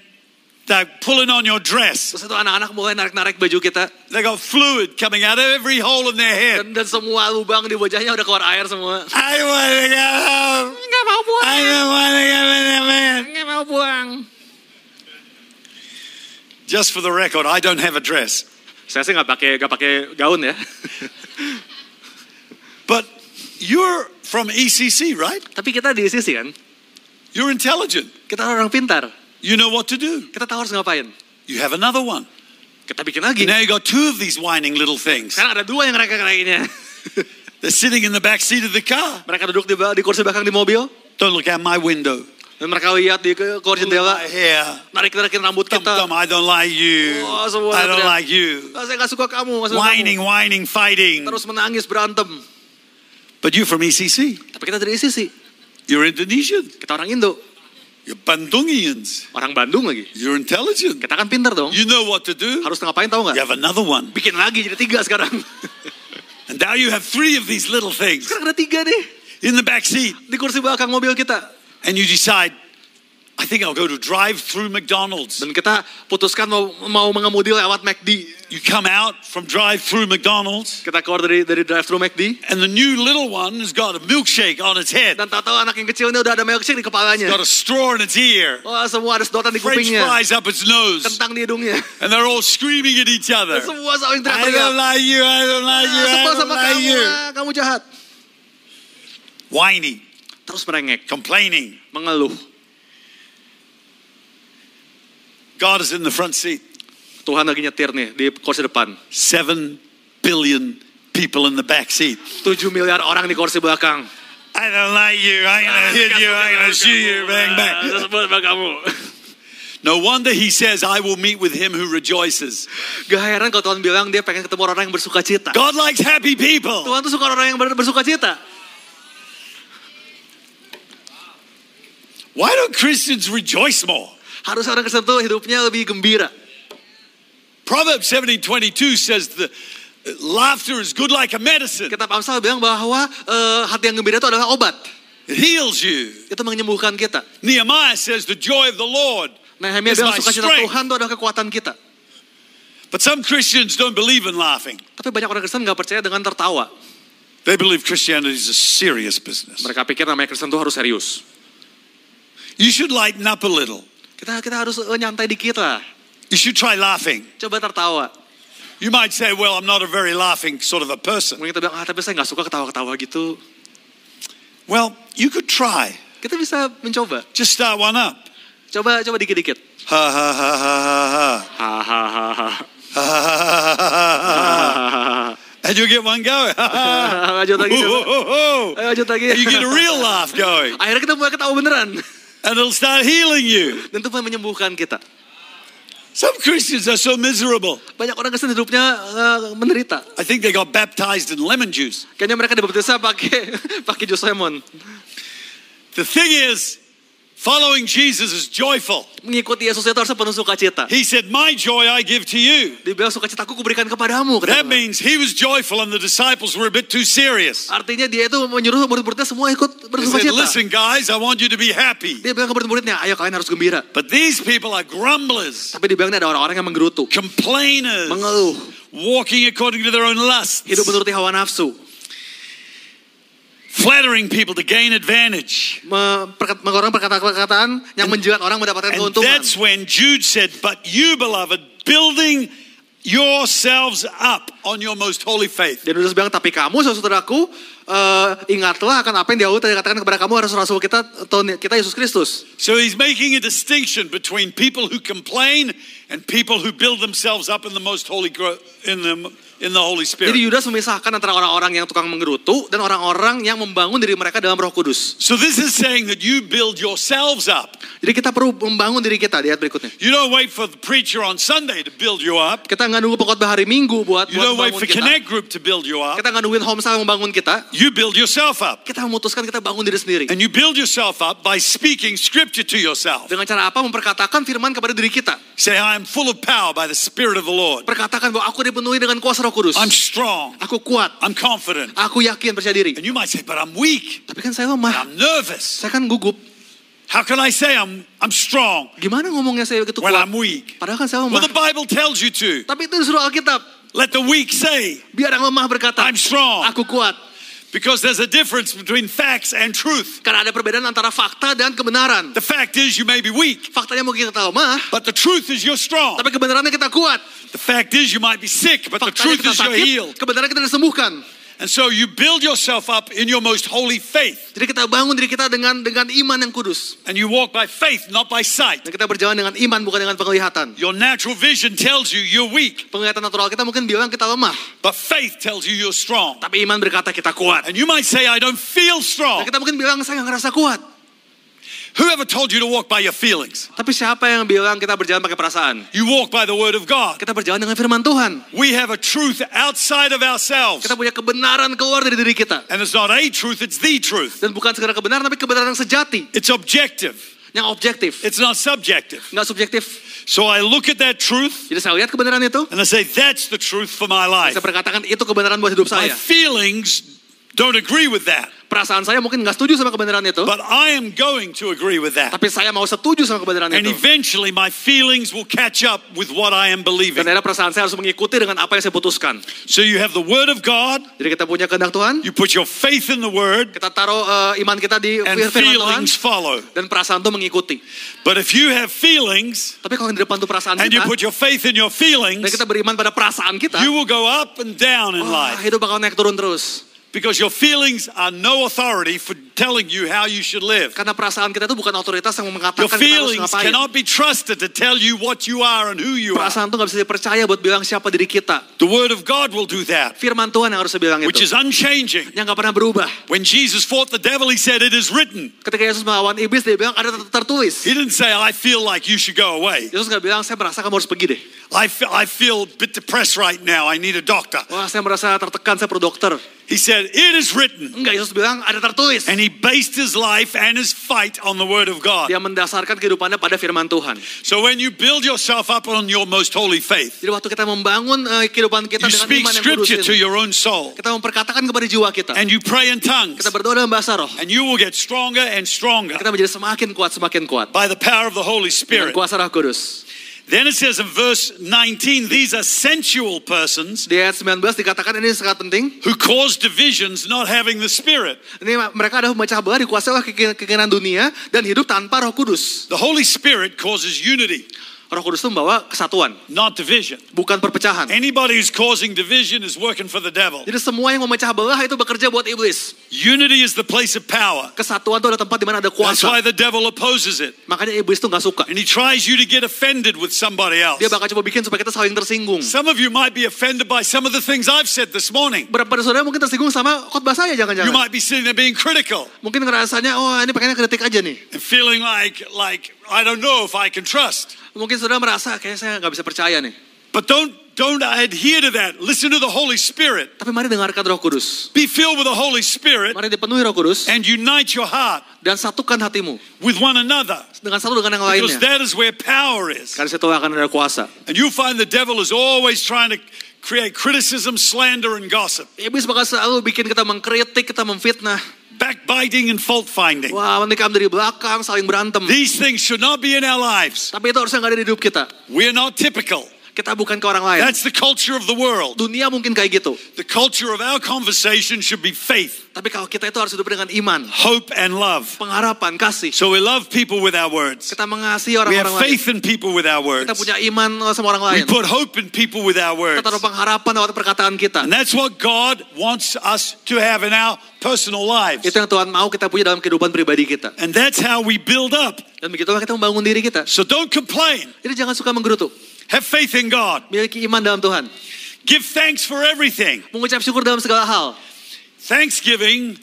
they're pulling on your dress.
terus itu anak-anak mulai narik-narik baju kita.
They got fluid coming out of every hole in their head.
Dan, dan semua lubang di wajahnya udah keluar air semua. ya.
I want to go home.
Nggak mau buang.
I don't want to go to bed.
Nggak mau buang.
Just for the record, I don't have a dress.
Saya sih nggak pakai nggak pakai gaun ya.
But you're from ECC, right?
Tapi kita di sisi kan,
You're intelligent.
kita orang pintar.
You know what to do.
Kita tahu harus ngapain.
You have another one.
Kita bikin lagi.
Now you got two of these whining little things.
Sekarang ada dua yang mereka kerainnya.
They're sitting in the back seat of the car.
mereka duduk di, ba- di kursi belakang di mobil.
Don't look out my window.
Dan mereka lihat di ke- keluar jendela.
My hair.
Narik-narikin rambut
Come,
kita.
come, I don't like you.
Oh, semua
I don't
teriak.
like you.
"Ah, saya nggak suka kamu. nggak suka
Whining,
kamu."
whining, fighting.
Terus menangis, berantem.
But you're from ECC.
Tapi kita dari sisi.
You're Indonesian.
Kita orang Indo.
You're Bandungians.
Orang Bandung lagi.
You're intelligent.
Kita kan pintar dong.
You know what to do.
Harus ngapain tahu
You
nggak?
have another one.
Bikin lagi jadi tiga sekarang.
And now you have three of these little things
sekarang ada tiga nih.
in the back seat.
Di kursi belakang mobil kita.
And you decide, I think I'll go to drive through McDonald's.
Dan kita putuskan mau, mau mengemudi lewat McD.
You come out from drive through McDonald's,
Kita keluar dari dari drive-thru McD.
and the new little one has got a milkshake on its head,
Dan tahu-tahu anak yang kecil ini udah ada milkshake di kepalanya.
got a straw in its ear,
Wah, semua ada sedotan di
French
kupingnya.
fries up its nose,
Kentang di hidungnya.
and they're all screaming at each other.
ya. Semua saling
I don't
teriak-teriak.
like you, I don't like you,
"Ah,
I
Sebel
don't
sama
like
kamu,
you.
ah, kamu jahat.
Whiny,
Terus merengek,
complaining.
mengeluh.
God is in the front seat.
Tuhan lagi nyetir nih di kursi depan.
Seven billion people in the back seat.
7 miliar orang di kursi belakang.
I don't like you, I'm gonna hit you, I'm gonna shoot you, iya, bang, bang.
Terus buat sama kamu.
No wonder he says, I will meet with him who rejoices.
Gak heran kalau Tuhan bilang dia pengen ketemu orang yang bersuka cita.
God likes happy people.
Tuhan tuh suka orang yang ber- bersuka cita.
Why don't Christians rejoice more?
Harusnya orang Kristen tuh hidupnya lebih gembira.
Proverbs 17 22 says the uh, laughter is good like a medicine.
Kitab Amsal bilang bahwa eh, hati yang gembira itu adalah obat.
It heals you.
Itu menyembuhkan kita.
Nehemiah says the joy of the Lord.
Nehemia
It's
bilang
my
sukacita
strength.
Tuhan itu adalah kekuatan kita.
But some Christians don't believe in laughing.
Tapi banyak orang Kristen nggak percaya dengan tertawa.
They believe Christianity is a serious business.
Mereka pikir namanya Kristen tuh harus serius.
You should lighten up a little.
Kita kita harus eh, nyantai dikit lah.
You should try laughing.
Coba tertawa.
You might say, Well, I'm not a very laughing sort of a person.
Mungkin kita bilang, ah tapi saya nggak suka ketawa-ketawa gitu.
Well, you could try.
Kita bisa mencoba.
Just start one up.
Coba coba dikit-dikit.
Ha ha ha ha ha ha.
Hahaha.
Ha ha ha ha ha ha. And you'll get one going. Ha ha.
Eh, lanjut lagi.
Ho,
coba.
ho, ho, ho.
Ayo lanjut lagi.
And you get a real laugh going,
Akhirnya kita mulai ketawa beneran.
and it'll start healing you.
Dan Tuhan menyembuhkan kita.
Some Christians are so miserable.
Banyak orang Kristen hidupnya eh, menderita.
I think they got baptized in lemon juice.
Kayaknya mereka dibaptisa pakai pakai jus lemon.
The thing is, following Jesus is joyful.
Mengikuti Yesus itu harusnya penuh sukacita.
He said, "My joy I give to you."
Dia bilang sukacitaku kuberikan kepadamu. kata
That
Tuhan.
means he was joyful, and the disciples were a bit too serious.
Artinya dia itu menyuruh murid-muridnya semua ikut
He said,
bersukacita.
"Listen, guys, I want you to be happy."
Dia bilang ke murid-muridnya, ayo kalian harus gembira.
But these people are grumblers,
Tapi dia bilang ini ada orang-orang yang menggerutu,
complainers,
mengeluh,
walking according to their own lusts,
hidup menuruti hawa nafsu,
flattering people to gain advantage.
memperkat- mengorang perkataan-perkataan yang menjilat orang mendapatkan
And
keuntungan.
that's when Jude said, But you, beloved, building yourselves up on your most holy faith.
Dan Yunus bilang, tapi kamu saudaraku eh, ingatlah akan apa yang dahulu tadi katakan kepada kamu harus rasul kita atau kita Yesus Kristus.
So he's making a distinction between people who complain and people who build themselves up in the most holy, gro- in the in the Holy Spirit.
Jadi Yudas memisahkan antara orang-orang yang tukang menggerutu dan orang-orang yang membangun diri mereka dalam Roh Kudus.
So this is saying that you build yourselves up.
Jadi kita perlu membangun diri kita di ayat berikutnya.
You don't wait for the preacher on Sunday to build you up.
Kita nggak nunggu pengkhotbah hari Minggu buat,
You
buat
don't wait
membangun
for
kita.
Connect Group to build you up.
Kita nggak nungguin homeschool membangun kita.
You build yourself up.
Kita memutuskan kita bangun diri sendiri.
And you build yourself up by speaking scripture to yourself.
Dengan cara apa? Memperkatakan firman kepada diri kita.
Say, I am full of power by the Spirit of the Lord.
Perkatakan bahwa aku dipenuhi dengan kuasa Roh Kudus.
I'm strong.
Aku kuat.
I'm confident.
Aku yakin percaya diri.
And you might say, but I'm weak.
Tapi kan saya lemah.
I'm nervous.
Saya kan gugup.
How can I say I'm, I'm strong
Gimana ngomongnya saya begitu
when
kuat?
I'm weak?
Padahal kan saya
Well,
lemah.
the Bible tells you to.
Tapi itu disuruh Alkitab.
Let the weak say,
Biar yang lemah berkata,
I'm strong.
aku kuat.
Because there's a difference between facts and truth.
Karena ada perbedaan antara fakta dan kebenaran.
The fact is, you may be weak,
Faktanya mungkin kita lemah,
but the truth is, you're strong.
tapi kebenarannya kita kuat.
The fact is, you might be sick, but the
Faktanya
truth
kita
is, you're
sakit,
healed.
kebenaran kita disembuhkan.
And so you build yourself up in your most holy faith,
Jadi kita bangun diri kita dengan dengan iman yang kudus.
and you walk by faith, not by sight.
Dan kita berjalan dengan iman bukan dengan penglihatan.
Your natural vision tells you you're weak,
Penglihatan natural kita mungkin bilang kita lemah,
but faith tells you you're strong.
tapi iman berkata kita kuat.
And you might say, I don't feel
Dan
strong.
kita mungkin bilang saya nggak ngerasa kuat.
Whoever told you to walk by your feelings?
Tapi siapa yang bilang kita berjalan pakai perasaan?
You walk by the word of God.
Kita berjalan dengan firman Tuhan.
We have a truth outside of ourselves.
Kita punya kebenaran keluar dari diri kita.
And it's not a truth, it's the truth.
Dan bukan sekedar kebenaran, tapi kebenaran yang sejati,
It's objective,
yang objektif,
it's not subjective.
nggak subjektif.
So I look at that truth
Jadi saya lihat kebenaran itu,
and I say, that's the truth for my life.
saya perkatakan itu kebenaran buat hidup
My
saya.
feelings don't agree with that,
Perasaan saya mungkin nggak setuju sama kebenaran itu,
but I am going to agree with that.
tapi saya mau setuju sama kebenaran
And
itu.
eventually, my feelings will catch up with what I am
Dan
believing.
akhirnya perasaan saya harus mengikuti dengan apa yang saya putuskan.
So you have the Word of God,
Jadi kita punya kehendak Tuhan,
you put your faith in the Word,
kita taruh eh, iman kita di
and
firman Tuhan,
feelings follow.
dan perasaan itu mengikuti.
But if you have feelings
Tapi kalau yang di depan itu perasaan
and you
kita,
put your faith in your
dan
feelings,
kita beriman pada perasaan kita,
you will go up and down in
wah,
life.
hidup bakal naik turun terus.
Because your feelings are no authority for telling you how you should live.
Karena perasaan kita itu bukan otoritas yang
Your
mengatakan kita harus
feelings
ngapain.
cannot be trusted to tell you what you are and who you are.
Perasaan itu nggak bisa dipercaya buat bilang siapa diri kita.
The Word of God will do that,
Firman Tuhan yang harus bilang
which is
itu.
unchanging.
Yang nggak pernah berubah.
When Jesus fought the devil, he said, It is written.
Ketika Yesus melawan iblis, dia bilang ada ter- tertulis.
He didn't say, I feel like you should go away.
Yesus nggak bilang, saya merasa kamu harus pergi deh.
I feel, I feel a bit depressed right now. I need a doctor.
Wah, saya merasa tertekan, saya perlu dokter.
He said, It is written.
Enggak, Yesus bilang ada tertulis.
And he based his life and his fight on the Word of God.
Dia mendasarkan kehidupannya pada firman Tuhan.
So when you build yourself up on your most holy faith,
Jadi waktu kita membangun eh, kehidupan kita
you
dengan
speak
iman yang kudus
scripture to
ini,
your own soul.
kita memperkatakan kepada jiwa kita.
and you pray in tongues,
Kita berdoa dalam bahasa roh.
and you will get stronger and stronger
Kita menjadi semakin kuat, semakin kuat.
by the power of the Holy Spirit.
Dengan kuasa roh kudus.
Then it says in verse 19, these are sensual persons
Di ayat 19 dikatakan ini sangat penting.
who cause divisions not having the Spirit.
Ini mereka ada memecah belah dikuasai oleh keinginan keinginan dunia dan hidup tanpa Roh Kudus.
The Holy Spirit causes unity,
Roh Kudus itu membawa kesatuan,
not division.
bukan perpecahan.
Anybody who's causing division is working for the devil.
Jadi semua yang memecah belah itu bekerja buat iblis.
Unity is the place of power.
Kesatuan itu ada tempat di mana ada
That's why
kuasa.
the devil opposes it.
Makanya iblis itu nggak suka.
And he tries you to get offended with somebody else.
Dia bakal coba bikin supaya kita saling tersinggung.
Some of you might be offended by some of the things I've said this morning.
Berapa dari saudara mungkin tersinggung sama khotbah saya
You
jangan-jangan.
might be sitting there being critical.
Mungkin ngerasanya, oh ini pengennya kritik aja nih.
and feeling like like I don't know if I can trust.
Mungkin saudara merasa, kayaknya saya nggak bisa percaya nih.
But don't don't adhere to that. Listen to the Holy Spirit.
Tapi mari dengarkan Roh Kudus.
Be filled with the Holy Spirit
Mari dipenuhi Roh Kudus
and unite your heart
dan satukan hatimu
with one another.
dengan satu dengan yang
Because
lainnya.
that is where power is.
Karena situ akan ada kuasa.
And you'll find the devil is always trying to create criticism, slander, and gossip,
Iblis bakal selalu bikin kita mengkritik, kita memfitnah.
backbiting and fault finding.
Wah, menikam dari belakang, saling berantem.
These things should not be in our lives.
Tapi itu harusnya nggak ada di hidup kita.
We're not typical.
Kita bukan ke orang lain.
That's the culture of the world.
Dunia mungkin kayak gitu.
The culture of our conversation should be faith,
Tapi kalau kita itu harus hidup dengan iman,
hope, and love.
pengharapan, kasih.
So we love people with our words.
Kita mengasihi
We have
orang-orang lain.
faith in people with our
Kita
words.
punya iman sama
We
orang lain.
put hope in people with our words.
Kita taruh pengharapan lewat perkataan kita.
And that's what God wants us to have in our personal lives.
Itu yang Tuhan mau kita punya dalam kehidupan pribadi kita.
And that's how we build up.
Dan begitulah kita membangun diri kita.
So don't complain.
Jadi jangan suka menggerutu.
Have faith in God.
Miliki iman dalam Tuhan.
Give thanks for everything.
Mengucap syukur dalam segala hal.
Thanksgiving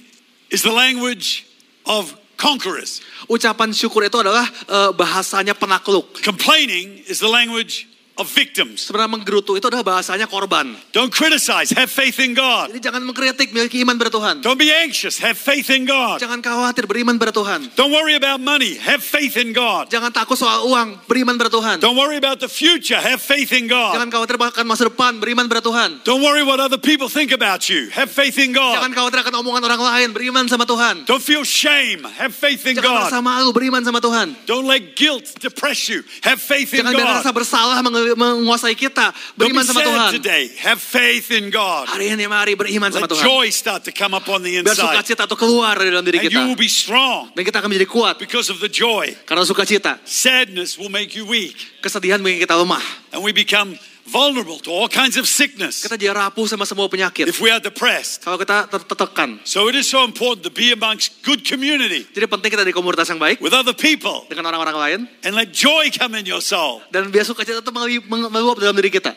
is the language of conquerors.
Ucapan syukur itu adalah eh, bahasanya penakluk.
Complaining is the language of victims.
Sebenarnya menggerutu itu adalah bahasanya korban.
Don't criticize, have faith in God.
Jadi jangan mengkritik, miliki iman pada Tuhan.
Don't be anxious, have faith in God.
Jangan khawatir, beriman pada Tuhan.
Don't worry about money, have faith in God.
Jangan takut soal uang, beriman pada Tuhan.
Don't worry about the future, have faith in God.
Jangan khawatir bahkan masa depan, beriman pada Tuhan.
Don't worry what other people think about you, have faith in God.
Jangan khawatir akan omongan orang lain, beriman sama Tuhan.
Don't feel shame, have faith in
Jangan merasa
God.
malu, beriman sama Tuhan.
Don't let guilt depress you, have faith in
Jangan biarkan rasa
God.
bersalah menge- menguasai
Don't
kita,
be
beriman sama
sad
Tuhan.
today, have faith in God.
Hari ini mari beriman sama
Let
Tuhan.
joy start to come up on the
Biar
inside.
sukacita itu keluar dari dalam diri
And you
kita.
will be strong
Dan kita akan menjadi kuat
because of the joy.
karena sukacita.
Sadness will make you weak.
Kesedihan bikin kita lemah.
And we become vulnerable to all kinds of sickness
Kita jadi rapuh sama semua penyakit.
if we are depressed.
Kalau kita ter- tertekan.
So it is so important to be amongst good community
Jadi penting kita di komunitas yang baik
with other people
dengan orang-orang lain
and let joy come in your soul.
dan biar sukacita itu melu- meng- meluap dalam diri kita.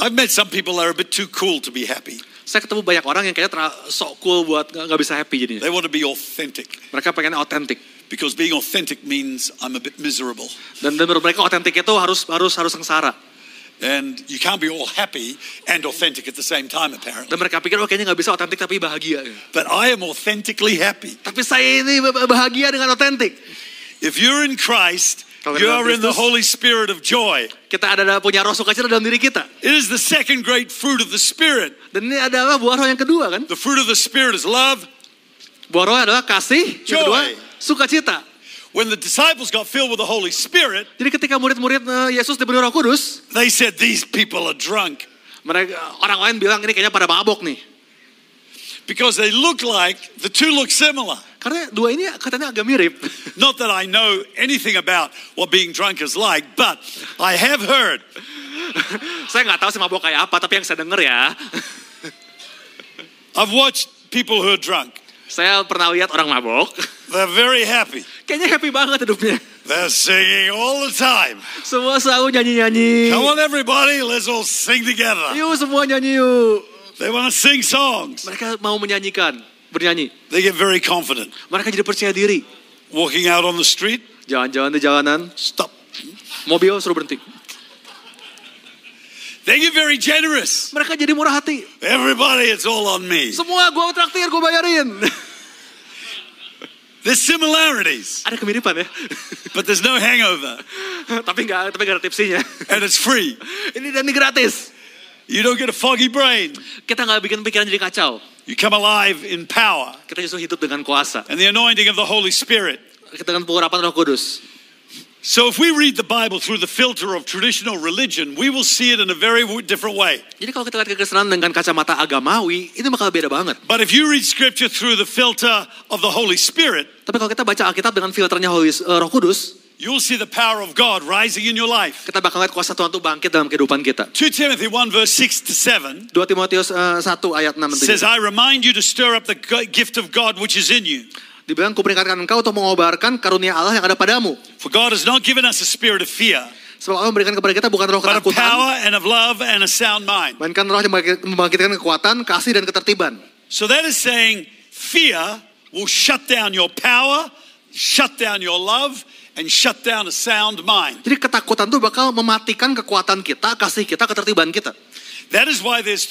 I've met some people that are a bit too cool to be happy.
Saya ketemu banyak orang yang kayaknya ter- sok cool buat nggak nggak bisa happy jadinya.
They want to be authentic
Mereka pengen otentik
because being authentic means I'm a bit miserable.
dan, dan menurut mereka otentik itu harus harus harus sengsara.
And you can't be all happy and authentic at the same time, apparently.
Dan mereka pikir oh kayaknya nggak bisa otentik tapi bahagia.
But I am authentically happy.
Tapi saya ini bah- bahagia dengan otentik.
If you're in Christ,
Kalau
you
dalam
are in the
Kristus.
Holy Spirit of joy.
Kita ada, ada punya roh sukacita dalam diri kita.
It is the second great fruit of the Spirit.
Dan ini adalah buah roh yang kedua kan?
The fruit of the Spirit is love.
Buah roh adalah kasih, yang
Joy.
kedua sukacita.
When the disciples got filled with the Holy Spirit,
Jadi ketika murid-murid eh, Yesus diberi Roh Kudus,
they said, These people are drunk
mereka orang lain bilang ini kayaknya pada mabok nih.
because they look like the two look similar.
Karena dua ini katanya agak mirip.
Not that I know anything about what being drunk is like, but I have heard
saya nggak tahu sih mabok kayak apa, tapi yang saya dengar ya,
I've watched people who are drunk.
saya pernah lihat orang mabok.
They're very happy.
Kayaknya happy banget hidupnya.
They're singing all the time.
Semua selalu nyanyi-nyanyi.
Come on, everybody, let's all sing together.
Yuk semua nyanyi yuk.
They want to sing songs.
Mereka mau menyanyikan, bernyanyi.
They get very confident.
Mereka jadi percaya diri.
Walking out on the street,
Jalan-jalan di jalanan,
stop.
mobil suruh berhenti.
They get very generous.
Mereka jadi murah hati.
Everybody, it's all on me.
Semua gua traktir, gua bayarin.
There's similarities,
Ada kemiripan ya.
but there's no hangover,
tapi nggak, tapi nggak ada tipsinya.
and it's free.
ini dan ini gratis.
You don't get a foggy brain.
Kita nggak bikin pikiran jadi kacau.
You come alive in power
Kita justru hidup dengan kuasa.
and the anointing of the Holy Spirit.
Kita dengan pengurapan Roh Kudus.
So, if we read the Bible through the filter of traditional religion, we will see it in a very w- different way.
Jadi kalau kita lihat kekristenan dengan kacamata agamawi, itu bakal beda banget.
But if you read Scripture through the filter of the Holy Spirit,
Tapi kalau kita baca Alkitab dengan filternya Holy, eh, Roh Kudus,
you'll see the power of God rising in your life.
kita bakal lihat kuasa Tuhan itu bangkit dalam kehidupan kita.
2 Timothy 1, verse 6 to 7.
2 Timotius eh, 1 ayat 6 dan
says,
7.
I remind you to stir up the g- gift of God which is in you.
Dibilang kuperingatkan engkau untuk mengobarkan karunia Allah yang ada padamu.
For God has not given us a spirit of fear,
Sebab Allah memberikan kepada kita bukan roh
but of
ketakutan,
power and of love and a sound mind.
melainkan roh yang membangkit- membangkitkan kekuatan, kasih dan ketertiban.
So that is saying fear will shut down your power, shut down your love, and shut down a sound mind.
Jadi ketakutan itu bakal mematikan kekuatan kita, kasih kita, ketertiban kita.
That is why there's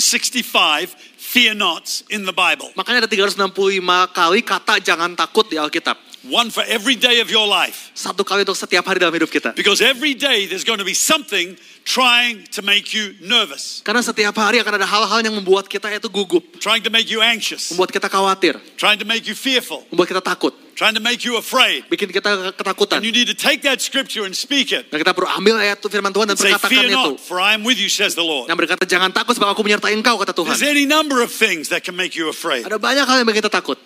365 fear nots in the Bible.
Makanya ada 365 kali kata jangan takut di Alkitab.
One for every day of your life.
Satu kali untuk setiap hari dalam hidup kita.
Because every day there's going to be something trying to make you nervous,
Karena setiap hari akan ada hal-hal yang membuat kita itu gugup,
trying to make you anxious,
membuat kita khawatir,
trying to make you fearful,
membuat kita takut,
trying to make you afraid.
bikin kita ketakutan.
And you need to take that scripture and speak it.
Nah, kita perlu ambil ayat firman Tuhan dan
Say,
perkatakan
fear
itu.
not, for I am with you, says the Lord.
Yang berkata, jangan takut sebab aku menyertai engkau, kata
There's
Tuhan.
any number of things that can make you afraid.
Ada banyak hal yang bikin kita takut.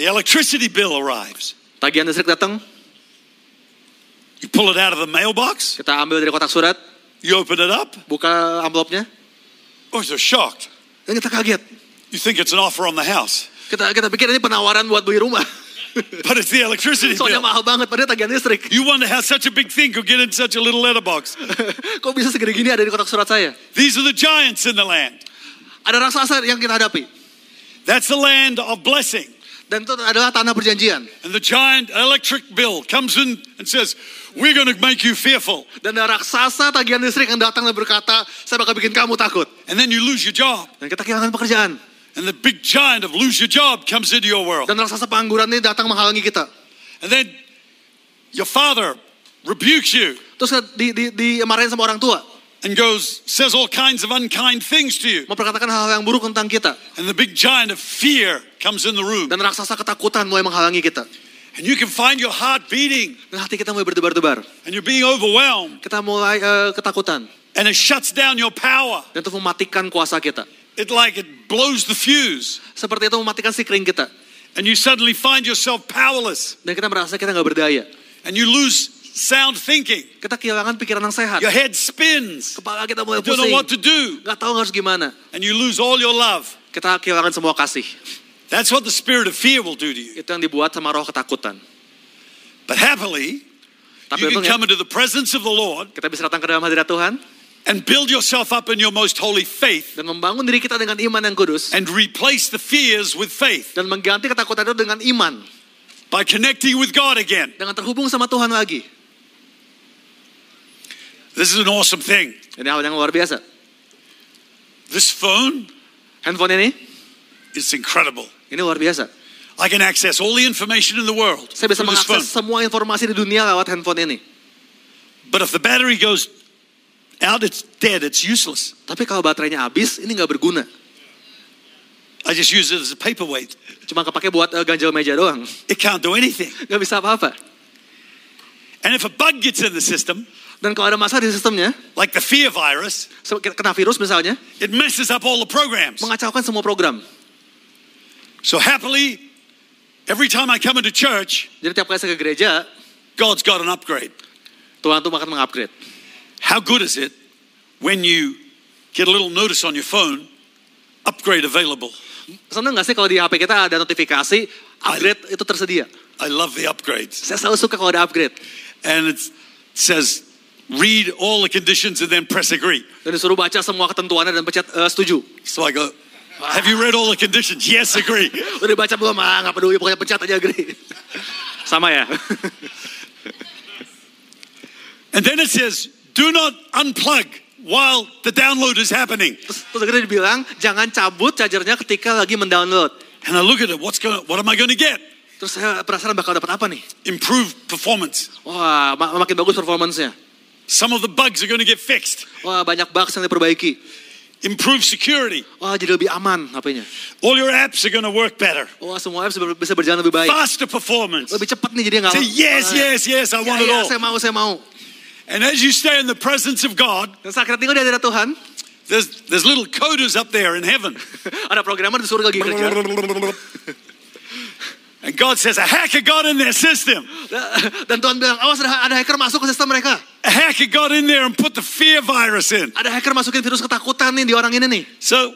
The electricity bill arrives.
Tagihan listrik datang,
You pull it out of the mailbox,
kita ambil dari kotak surat,
you open it up,
buka envelopnya,
oh, you're shocked.
dan kita kaget.
You think it's an offer on the house.
Kita kita pikir ini penawaran buat beli rumah.
but it's the electricity
Soalnya
bill.
mahal banget, padahal tagihan listrik.
You wonder how such a big thing could get in such a little letter box.
Kok bisa segede gini ada di kotak surat saya?
These are the giants in the land.
Ada raksasa yang kita hadapi.
That's the land of blessing.
Dan itu adalah tanah perjanjian.
And the giant electric bill comes in and says, We're going to make you fearful.
Dan ada raksasa tagihan listrik yang datang dan berkata, saya bakal bikin kamu takut.
And then you lose your job.
Dan kita kehilangan pekerjaan.
And the big giant of lose your job comes into your world.
Dan raksasa pengangguran ini datang menghalangi kita.
And then your father rebukes you
Terus di, di, dimarahin sama orang tua.
and goes, says all kinds of unkind things to you.
Memperkatakan hal-hal yang buruk tentang kita.
And the big giant of fear comes in the room.
Dan raksasa ketakutan mulai menghalangi kita.
And you can find your heart beating
Dan hati kita mulai berdebar-debar.
and you're being overwhelmed.
Kita mulai eh, ketakutan.
And it shuts down your power.
Dan itu mematikan kuasa kita.
It like it blows the fuse.
Seperti itu mematikan sikring kita.
And you suddenly find yourself powerless
Dan kita merasa kita nggak berdaya.
and you lose sound thinking.
Kita kehilangan pikiran yang sehat.
Your head spins.
Kepala kita mulai
You don't know
pusing.
what to do.
Nggak tahu harus gimana.
And you lose all your love.
Kita kehilangan semua kasih.
That's what the spirit of fear will do to you.
Itu yang dibuat sama roh ketakutan.
But happily,
Tapi
you can
untungnya
come into the presence of the Lord
kita bisa datang ke dalam hadirat Tuhan
and build yourself up in your most holy faith
dan membangun diri kita dengan iman yang kudus
and replace the fears with faith
dan mengganti ketakutan itu dengan iman,
by connecting with God again.
dengan terhubung sama Tuhan lagi.
This is an awesome thing.
Ini hal yang luar biasa.
This phone
Handphone ini,
is incredible.
ini luar biasa.
I can access all the information in the world
Saya bisa
through this phone.
mengakses semua informasi di dunia lewat handphone ini.
But if the battery goes out, it's dead. It's useless.
Tapi kalau baterainya habis, ini nggak berguna.
I just use it as a paperweight.
Cuma kepake buat eh, ganjel meja doang.
It can't do anything.
Nggak bisa apa-apa.
And if a bug gets in the system,
Dan kalau ada masalah di sistemnya,
like the fear virus,
se- kena virus misalnya,
it messes up all the programs.
mengacaukan semua program.
So happily, every time I come into church,
Jadi tiap kali saya ke gereja,
God's got an upgrade.
Tuhan tuh akan mengupgrade.
How good is it when you get a little notice on your phone, upgrade available?
Seneng nggak sih kalau di HP kita ada notifikasi upgrade itu tersedia?
I love the upgrades.
Saya selalu suka kalau ada upgrade.
And it's- it says, read all the conditions and then press agree.
Dan disuruh baca semua ketentuannya dan pencet eh, setuju.
So I go, have you read all the conditions? Yes, agree.
Udah baca belum? Ah, nggak peduli, pokoknya pencet aja agree. Sama ya.
and then it says, do not unplug while the download is happening.
terus, terus akhirnya dibilang jangan cabut chargernya ketika lagi mendownload.
And I look at it, what's going, what am I going to get?
Terus saya penasaran bakal dapat apa nih?
Improved performance.
Wah, ma- makin bagus performance-nya.
Some of the bugs are going to get fixed.
Wah, banyak bugs yang diperbaiki.
Improved security.
Wah, jadi lebih aman HP-nya.
All your apps are going to work better.
Wah, semua apps bisa- bisa berjalan lebih baik.
Faster performance.
Lebih cepat nih jadi nggak.
Say yes,
Ah,
yes, yes, I
ya,
want it
ya, saya
all.
mau, saya mau.
And as you stay in the presence of God,
Dan saat kita tinggal di hadirat Tuhan,
there's, there's little coders up there in heaven.
ada programmer di surga gitu, kan? lagi kerja.
And God says, a hacker got in their system.
Nah, Dan Tuhan bilang, awas ada, ada hacker masuk ke sistem mereka.
A hacker got in there and put the fear virus in.
Ada hacker masukin virus ketakutan nih di orang ini nih.
So,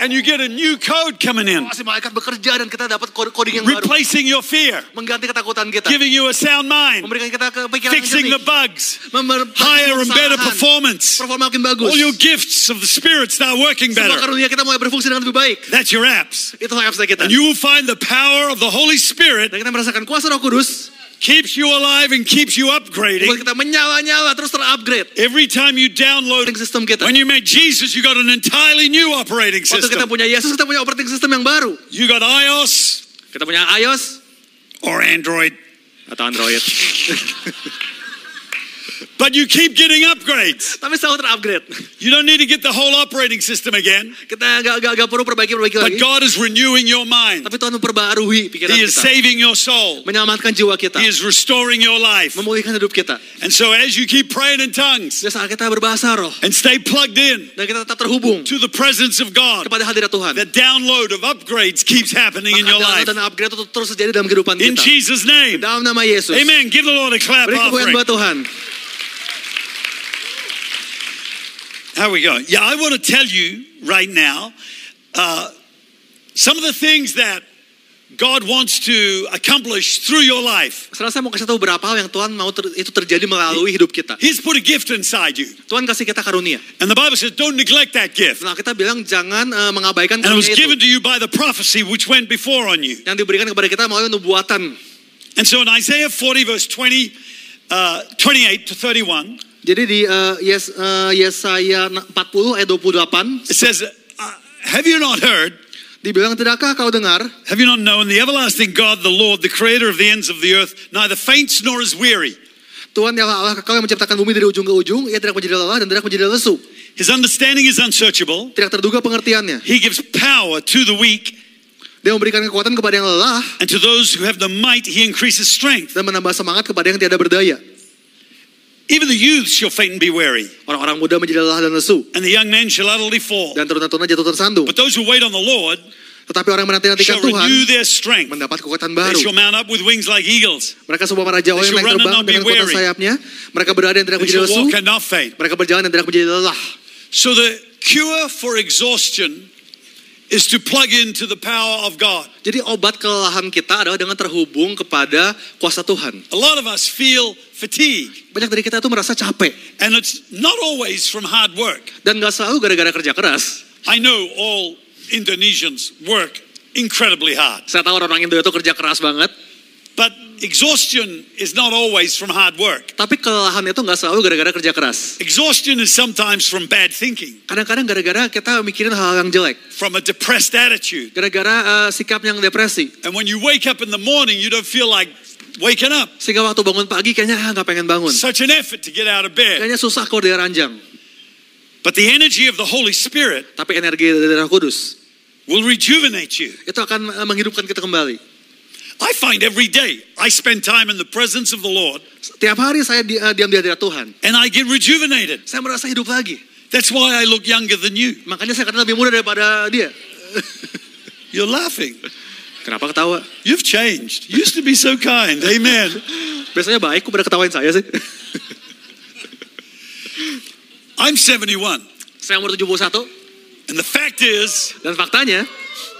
and you get a new code coming in,
Masih malaikat bekerja dan kita dapat kode- coding yang baru.
replacing your fear,
Mengganti ketakutan kita.
giving you a sound mind,
Memberikan kita kepikiran yang
fixing the
jernih.
bugs,
Memper-
higher and better
kesalahan.
performance.
Performa makin bagus.
All your gifts of the Spirit start working
Semua
better.
karunia kita mulai berfungsi dengan lebih baik.
That's your apps.
Itu apps kita.
And you will find the power of the Holy Spirit
Dan kita merasakan kuasa roh kudus.
keeps you alive and keeps you
Buat
upgrading.
kita menyala-nyala terus terupgrade.
Every time you download,
Operating system kita.
when you met Jesus, you got an entirely new operating
Waktu kita
system.
punya Yesus, kita punya operating system yang baru.
You got iOS
Kita punya iOS
or Android,
atau Android.
but you keep getting upgrades.
Tapi selalu terupgrade.
You don't need to get the whole operating system again,
Kita gak, gak, gak perlu perbaiki-perbaiki
but
lagi.
God is renewing your mind.
Tapi Tuhan memperbarui pikiran
He is
kita.
saving your soul.
Menyelamatkan jiwa kita.
He is restoring your life.
Memulihkan hidup kita.
And so as you keep praying in tongues
Dan saat kita berbahasa roh.
and stay plugged in
Dan kita tetap terhubung
to the presence of God,
kepada hadirat Tuhan.
the download of upgrades keeps happening in
Maka
your life.
download dan upgrade itu terus terjadi dalam kehidupan
In
kita.
Jesus' name.
Dalam nama Yesus.
Amen. Give the Lord a clap
Beri kemuliaan
offering.
buat Tuhan.
How we going? Yeah, I want to tell you right now uh, some of the things that God wants to accomplish through your life.
Sekarang saya mau kasih tahu berapa hal yang Tuhan mau ter- itu terjadi melalui hidup kita.
He's put a gift inside you.
Tuhan kasih kita karunia.
And the Bible says, don't neglect that gift.
Nah, kita bilang jangan eh, mengabaikan
And it was
karunia
given to
itu.
you by the prophecy which went before on you.
Yang diberikan kepada kita melalui nubuatan.
And so in Isaiah 40, verse 20, uh, 28 to 31,
Jadi di eh, yes, eh, Yesaya 40 ayat 28
it says, uh, Have you not heard?
dibilang tidakkah kau dengar
Have you not known the everlasting God, the Lord, the creator of the ends of the earth, neither faints nor is weary?
Tuhan yang Allah kekal yang menciptakan bumi dari ujung ke ujung, ia tidak menjadi lelah dan tidak menjadi lesu.
His understanding is unsearchable.
Tidak terduga pengertiannya.
He gives power to the weak,
Dia memberikan kekuatan kepada yang lelah
and to those who have the might, he increases strength.
dan menambah semangat kepada yang tiada berdaya.
Even the youth shall faint and be weary,
Orang-orang muda menjadi lelah dan lesu
and the young men shall utterly fall.
dan teruna-tuna jatuh tersandung.
But those who wait on the Lord
Tetapi orang yang menanti-nantikan
shall
Tuhan
renew their strength.
mendapat kekuatan
They
baru.
shall mount up with wings like eagles.
Mereka sebuah para Jawa
They
yang
shall
naik
run and
terbang
not be
dengan kekuatan
weary.
sayapnya. Mereka berada yang tidak
They
menjadi
shall
lesu.
walk and not faint.
Mereka berjalan yang tidak menjadi lelah.
So the cure for exhaustion is to plug into the power of God.
Jadi obat kelelahan kita adalah dengan terhubung kepada kuasa Tuhan.
A lot of us feel fatigue,
Banyak dari kita tuh merasa capek.
and it's not always from hard work.
Dan gak selalu gara-gara kerja keras.
I know all Indonesians work incredibly hard,
Saya tahu orang-orang Indo itu kerja keras banget.
but exhaustion is not always from hard work.
Tapi kelelahan itu nggak selalu gara-gara kerja keras.
Exhaustion is sometimes from bad thinking,
Kadang-kadang gara-gara kita mikirin hal yang jelek.
from a depressed attitude.
Gara-gara eh, sikap yang depresi.
And when you wake up in the morning, you don't feel like waking up.
Sehingga waktu bangun pagi kayaknya ah, nggak pengen bangun.
Such an effort to get out of bed.
Kayaknya susah kok dari ranjang.
But the energy of the Holy Spirit
Tapi energi dari Roh Kudus
will rejuvenate you.
itu akan eh, menghidupkan kita kembali.
I find every day I spend time in the presence of the Lord
Tiap hari saya di- eh, diam di hadirat Tuhan.
and I get rejuvenated.
Saya merasa hidup lagi.
That's why I look younger than you.
Makanya saya kadang lebih muda daripada dia.
You're laughing.
Kenapa ketawa?
You've changed. You used to be so kind. Amen.
Biasanya baik, kok pada ketawain saya sih?
I'm 71.
saya umur 71,
And the fact is,
dan faktanya,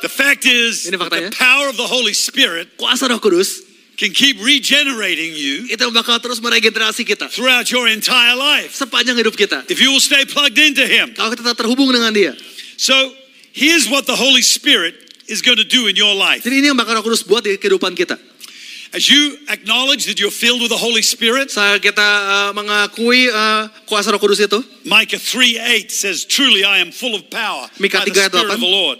the fact is, that
Ini
the
faktanya.
power of the Holy Spirit
kuasa roh kudus,
can keep regenerating you
itu bakal terus meregenerasi kita.
throughout your entire life
Sepanjang hidup kita.
if you will stay plugged into Him.
Kalau kita tetap terhubung dengan dia.
So here's what the Holy Spirit is going to do in your life.
Jadi ini yang bakal Roh Kudus buat di kehidupan kita.
As you acknowledge that you're filled with the Holy Spirit,
Saat kita eh, mengakui eh, kuasa Roh Kudus itu,
Micah 3 8 says, Truly I am full of power by
Mika
the
3, ayat
Spirit of
8.
the Lord.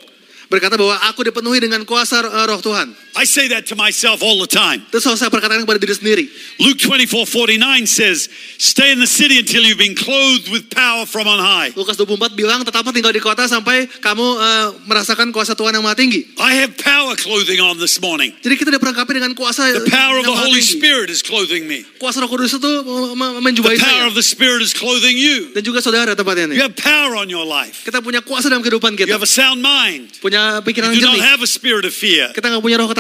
berkata bahwa aku dipenuhi dengan kuasa eh, Roh Tuhan.
I say that to myself all the time.
Itu selalu saya perkatakan kepada diri sendiri.
Luke 24 49 says, Stay in the city until you've been clothed with power from on high.
Lukas 24 bilang tetaplah tinggal di kota sampai kamu eh, merasakan kuasa Tuhan yang maha tinggi.
I have power clothing on this morning.
Jadi kita diperlengkapi dengan kuasa
The power of the
yang maha
Holy
tinggi.
Spirit is clothing me.
Kuasa Roh Kudus itu eh, me- menjumpai
The power
saya.
of the Spirit is clothing you.
Dan juga saudara tempatnya
You
nih.
have power on your life.
Kita punya kuasa dalam kehidupan
You
kita.
have a sound mind.
Punya pikiran
You do not
jernih.
have a spirit of fear,
Kita nggak punya roh ketakutan.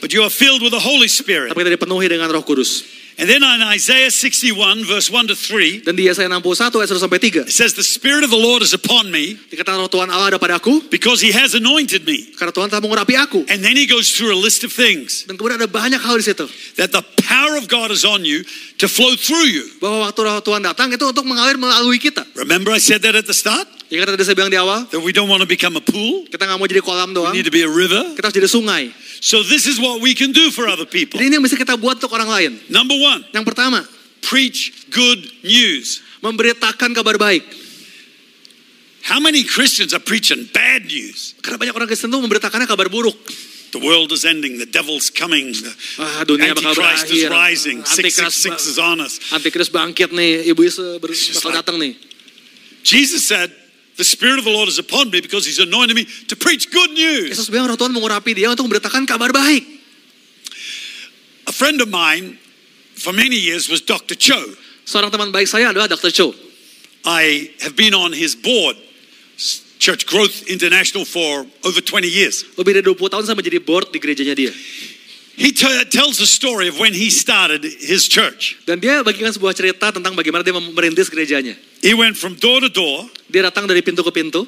but you are filled with the Holy Spirit.
Tapi kita dipenuhi dengan Roh Kudus.
And then in Isaiah 61, verse 1 to 3,
Dan di Yesaya 61 ayat 1 sampai 3.
it says, The Spirit of the Lord is upon me
Dikatakan roh Tuhan Allah ada padaku
because he has anointed me.
karena Tuhan telah mengurapi aku.
And then he goes through a list of things
Dan kemudian ada banyak hal di situ
that the power of God is on you to flow through you.
bahwa waktu roh Tuhan datang itu untuk mengalir melalui kita.
Remember, I said that at the start
Jika tadi saya bilang di awal,
that we don't want to become a pool,
kita nggak mau jadi kolam
we
doang,
need to be a river.
kita harus jadi sungai.
So, this is what we can do for other people.
Jadi ini yang bisa kita buat untuk orang lain.
Number one,
Yang pertama,
preach good news.
memberitakan kabar baik.
How many Christians are preaching bad news?
Karena banyak orang Kristen tuh memberitakannya kabar buruk.
The world is ending, the devil's coming, the
Ah, dunia bakal
Antichrist is
berakhir.
rising,
Antikris,
666 is on us.
Antikris bangkit nih, iblis eh, ber- bakal
like-
datang nih.
Jesus said, The Spirit of the Lord is upon me because He's anointed me to preach good news.
Yesus bilang roh Tuhan mengurapi dia untuk memberitakan kabar baik.
A friend of mine for many years was Dr. Cho.
Seorang teman baik saya adalah Dr. Cho.
I have been on his board, S- Church Growth International, for over 20 years.
Lebih dari 20 tahun saya menjadi board di gerejanya dia.
He t- tells the story of when he started his church.
Dan dia bagikan sebuah cerita tentang bagaimana dia merintis gerejanya.
He went from door to door
Dia datang dari pintu ke pintu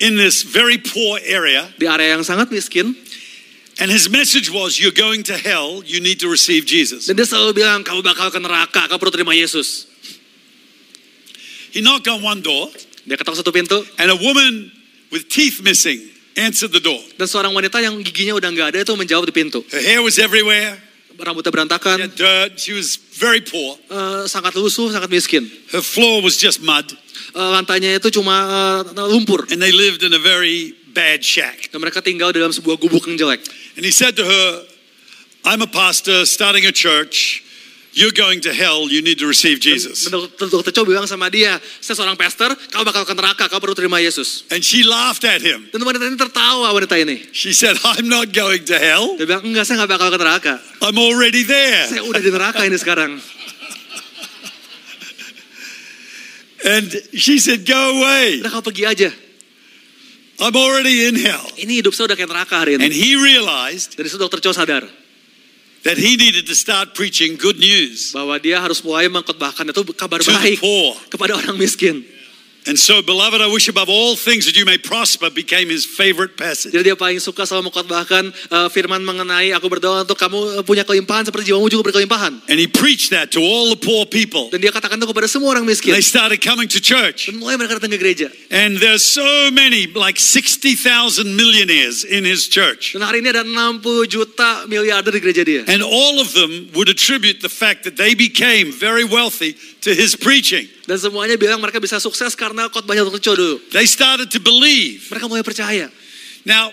in this very poor area
di area yang sangat miskin
And his message was, You're going to hell, you need to receive Jesus.
Dan dia selalu bilang, kamu bakal ke neraka, kamu perlu terima Yesus.
He knocked on one door,
Dia ketok satu pintu,
and a woman with teeth missing answered the door.
dan seorang wanita yang giginya udah nggak ada itu menjawab di pintu.
Her hair was everywhere,
Rambutnya berantakan,
she had dirt, she was very poor.
eh, sangat lusuh, sangat miskin.
Her floor was just mud,
Eh, lantainya itu cuma eh, lumpur.
and they lived in a very bad shack.
Dan mereka tinggal dalam sebuah gubuk yang jelek.
And he said to her, I'm a pastor starting a church. You're going to hell. You need to receive Jesus.
Dan Dok- Dokter Cho bilang sama dia, saya seorang pastor, kamu bakal ke neraka, kamu perlu terima Yesus.
And she laughed at him.
Dan wanita ini tertawa wanita ini.
She said, I'm not going to hell.
Dia bilang, enggak, saya nggak bakal ke neraka.
I'm already there.
Saya udah di neraka ini sekarang.
And she said, Go away.
Udah kau pergi aja.
I'm already in hell.
Ini hidup saya udah kayak neraka hari
And
ini.
he realized
Dan itu dokter Cho sadar
that he needed to start preaching good news
bahwa dia harus mulai mengkotbahkan itu kabar
to the
baik
poor.
kepada orang miskin.
And so, beloved, I wish above all things that you may prosper became his favorite passage.
Jadi dia paling suka selalu mengkotbahkan eh, firman mengenai aku berdoa untuk kamu eh, punya kelimpahan seperti jiwamu juga berkelimpahan.
And he preached that to all the poor people.
Dan dia katakan itu kepada semua orang miskin.
They started coming to church.
Dan mulai mereka datang ke gereja.
And there's so many, like 60,000 millionaires in his church.
Dan hari ini ada 60 juta miliarder di gereja dia.
And all of them would attribute the fact that they became very wealthy to his preaching.
Dan semuanya bilang mereka bisa sukses karena khotbahnya dokter Cho dulu.
They started to believe.
Mereka mulai percaya.
Now,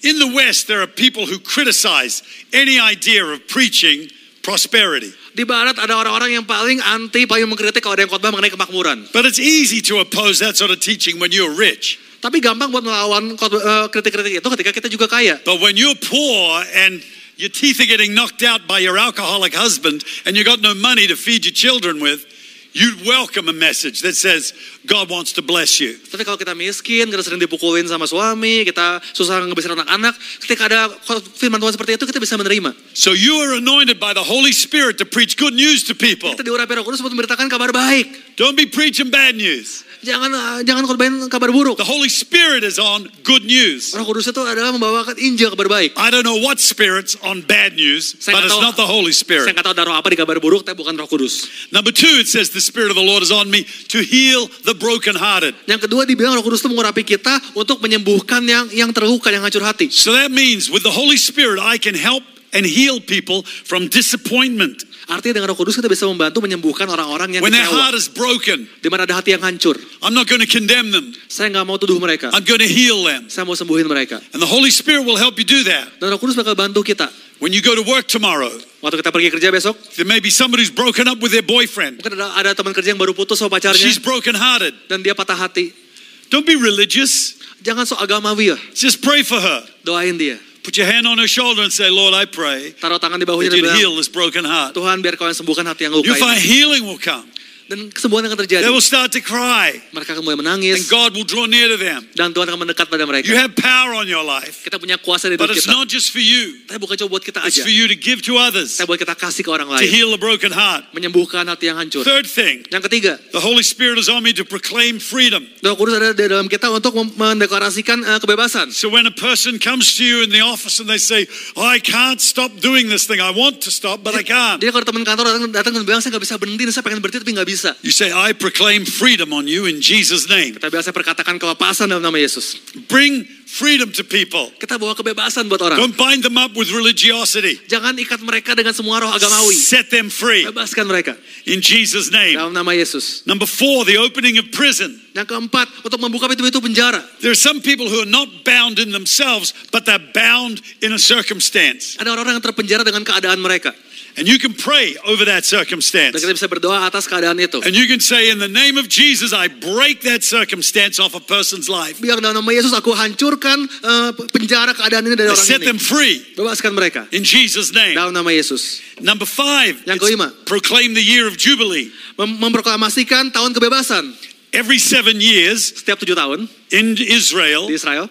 in the West, there are people who criticize any idea of preaching prosperity.
Di barat ada orang-orang yang paling anti, paling mengkritik kalau ada yang khotbah mengenai kemakmuran.
But it's easy to oppose that sort of teaching when you're rich.
Tapi gampang buat melawan khotbah- eh, kritik-kritik itu ketika kita juga kaya.
But when you're poor and your teeth are getting knocked out by your alcoholic husband and you got no money to feed your children with, you'd welcome a message that says, God wants to bless you.
Tapi kalau kita miskin, kita sering dipukulin sama suami, kita susah ngebesarin anak-anak, ketika ada firman Tuhan seperti itu kita bisa menerima.
So you are anointed by the Holy Spirit to preach good news to people.
Kita diurapi Roh Kudus untuk memberitakan kabar baik.
Don't be preaching bad news.
Jangan eh, jangan korbanin kabar buruk.
The Holy Spirit is on good news.
Roh Kudus itu adalah membawakan Injil kabar baik.
I don't know what spirit's on bad news,
Saya
but
nggak
it's
tahu-
not the Holy
Saya
Spirit.
nggak tahu ada roh apa di kabar buruk, tapi bukan Roh Kudus.
Number two, it says, The Spirit of the Lord is on me to heal the brokenhearted.
Yang kedua dibilang Roh Kudus itu mengurapi kita untuk menyembuhkan yang yang terluka, yang hancur hati.
So that means with the Holy Spirit, I can help and heal people from disappointment
Artinya dengan Roh Kudus kita bisa membantu menyembuhkan orang-orang yang
when their
kecewa,
heart is broken.
di mana ada hati yang hancur.
I'm not going to condemn them,
Saya nggak mau tuduh mereka.
I'm going to heal them.
Saya mau sembuhin mereka.
And the Holy Spirit will help you do that.
Dan Roh Kudus bakal bantu kita.
When you go to work tomorrow,
Waktu kita pergi kerja besok,
there may be somebody who's broken up with their boyfriend.
mungkin ada, ada teman kerja yang baru putus sama pacarnya
She's brokenhearted.
dan dia patah hati.
Don't be religious.
Jangan sok agamawi lah,
Just pray for her.
doain dia.
Put your hand on her shoulder and say, Lord, I pray
Taruh tangan di bahunya
that
dan
you'd
bilang,
heal this broken heart.
Tuhan biar kau yang sembuhkan hati yang luka
You'll find
ini.
healing will come.
Dan kesembuhan akan terjadi.
They will start to cry,
Mereka akan mulai
and
menangis
God will draw near to them.
dan Tuhan akan mendekat pada mereka.
You have power on your life.
Kita punya kuasa di
But
hidup
it's
kita.
not just for you.
Tapi bukan cuma buat kita
It's
aja.
for you to give to others,
Tapi buat kita kasih ke orang
to
lain.
heal a broken heart.
Menyembuhkan hati yang hancur.
Third thing,
Yang ketiga,
the Holy Spirit is on me to proclaim freedom.
Roh Kudus ada di dalam kita untuk mem- mendeklarasikan eh, kebebasan.
So when a person comes to you in the office and they say, oh, I can't stop doing this thing, I want to stop, but I can't.
Jadi kalau teman kantor datang, datang dan bilang saya nggak bisa berhenti, saya pengen berhenti tapi nggak bisa.
You say, I proclaim freedom on you in Jesus' name.
Kita biasa perkatakan kelepasan dalam nama Yesus.
Bring freedom to people.
Kita bawa kebebasan buat orang.
Don't bind them up with religiosity.
Jangan ikat mereka dengan semua roh agamawi.
Set them free
Bebaskan mereka
in Jesus' name.
dalam nama Yesus.
Number four, the opening of prison.
Yang keempat, untuk membuka pintu-pintu penjara.
There are some people who are not bound in themselves, but they're bound in a circumstance.
Ada orang-orang yang terpenjara dengan keadaan mereka.
And you can pray over that
Dan
circumstance.
kita bisa berdoa atas keadaan itu.
And you can say, In the name of Jesus, I break that circumstance off a person's life.
Biar dalam nama Yesus aku hancurkan eh, penjara keadaan ini dari
I
orang
set them
ini.
free
Bebaskan mereka
in Jesus' name.
dalam nama Yesus.
Number five,
Yang
it's
kelima.
proclaim the year of Jubilee.
Mem- memproklamasikan tahun kebebasan.
Every seven years
Setiap tujuh tahun
in Israel,
di Israel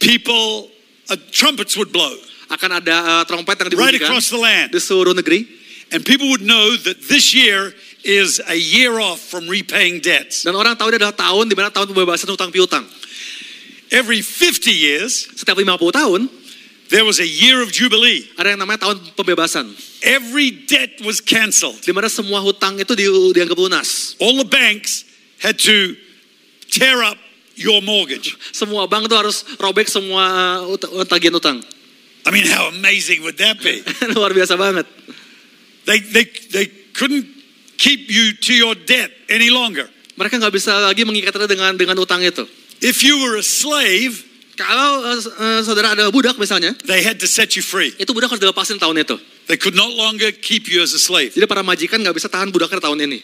people, uh, trumpets would blow
akan ada eh, trompet yang
right
dibunyikan
across the land.
di seluruh negeri.
And people would know that this year is a year off from repaying debts.
Dan orang tahu ini adalah tahun di mana tahun pembebasan hutang piutang.
Every 50 years,
Setiap 50 tahun
There was a year of Jubilee.
Ada yang namanya tahun pembebasan.
Every debt was canceled.
Di mana semua hutang itu di- dianggap lunas.
All the banks had to tear up your mortgage.
Semua bank itu harus robek semua ut- tagihan utang.
I mean, how amazing would that be?
Luar biasa banget.
They, they, they couldn't keep you to your debt any longer.
Mereka nggak bisa lagi mengikatnya dengan dengan utang itu.
If you were a slave,
Kalau eh, s- eh, saudara ada budak misalnya,
they had to set you free.
itu budak harus dilepasin tahun itu.
They could no longer keep you as a slave.
Jadi para majikan nggak bisa tahan budaknya tahun ini.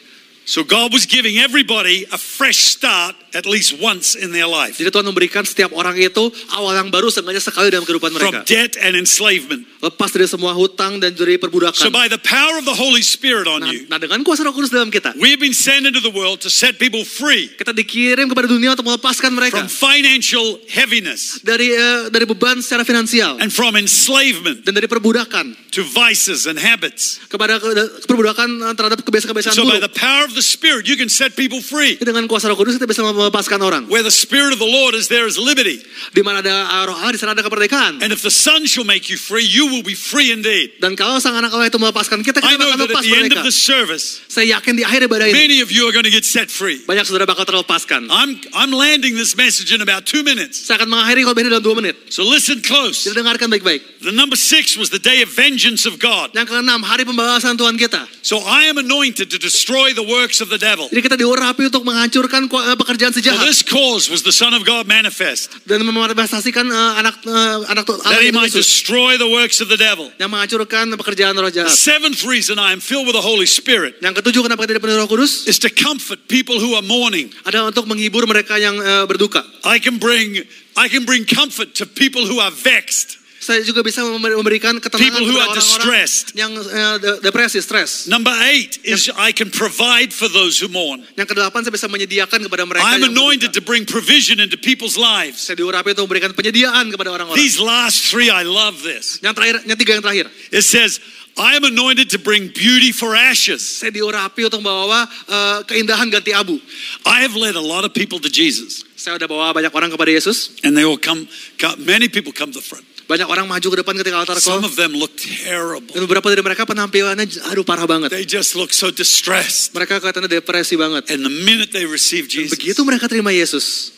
So God was giving everybody a fresh start at least once in their life
Jadi Tuhan memberikan setiap orang itu awal yang baru seenggaknya sekali dalam kehidupan
from
mereka.
debt and enslavement.
Lepas dari semua hutang dan dari perbudakan.
So by the power of the Holy Spirit on
Nah,
you,
nah, dengan kuasa roh kudus dalam kita.
we've been sent into the world to set people free
Kita dikirim kepada dunia untuk melepaskan mereka.
from financial heaviness
Dari eh, dari beban secara finansial.
and from enslavement
Dan dari perbudakan.
to vices and habits.
Kepada ke- perbudakan eh, terhadap kebiasaan-kebiasaan
So by the
buruk.
power of the Spirit, you can set people free.
Jadi Dengan kuasa roh kudus kita bisa melepaskan orang.
Where the Spirit of the Lord is, there is liberty.
Di mana ada eh, roh Allah, di sana ada kemerdekaan.
And if the Son shall make you free, you will be free indeed.
Dan kalau sang anak Allah itu melepaskan kita,
I
kita
know
akan
that at
lepas
the end of
mereka.
the service,
Saya yakin di akhir ibadah ini,
many of you are going to get set free.
banyak saudara bakal terlepaskan.
I'm, I'm landing this message in about two minutes.
Saya akan mengakhiri khotbah ini dalam dua menit.
So listen close.
Jadi dengarkan baik-baik.
The number six was the day of vengeance of God.
Yang keenam, hari pembalasan Tuhan kita.
So I am anointed to destroy the works of the devil.
Jadi kita diurapi untuk menghancurkan ku- eh, pekerjaan si
For
jahat
this cause was the Son of God manifest,
dan memanifestasikan eh, anak eh, anak tu-
that
Allah
he
itu
might
Yesus,
destroy the works of the devil.
yang menghancurkan pekerjaan roh
The
jahat.
seventh reason I am filled with the Holy Spirit
Yang ketujuh, kenapa kita dipenuhi Roh Kudus?
is to comfort people who are mourning.
Adalah untuk menghibur mereka yang eh, berduka.
I can bring, I can bring comfort to people who are vexed.
Saya juga bisa member- memberikan ketenangan
People who
kepada
are
orang-orang
distressed.
yang eh, de- depresi, stres.
Number eight is I can provide for those who mourn.
Yang kedelapan, saya bisa menyediakan kepada mereka
I am
yang
anointed
berduka.
to bring provision into people's lives.
Saya diurapi untuk memberikan penyediaan kepada orang-orang.
These last three, I love this.
Yang terakhir, yang tiga yang terakhir.
It says, I am anointed to bring beauty for ashes.
Saya diurapi untuk membawa eh, keindahan ganti abu.
I have led a lot of people to Jesus,
Saya udah bawa banyak orang kepada Yesus.
and they all come, come many people come to the front.
Banyak orang maju ke depan ketika altar
Some
call.
of them look terrible.
Dan beberapa dari mereka penampilannya, aduh parah banget.
They just look so distressed.
Mereka kelihatannya depresi banget.
And the minute they receive Jesus,
Begitu mereka terima Yesus,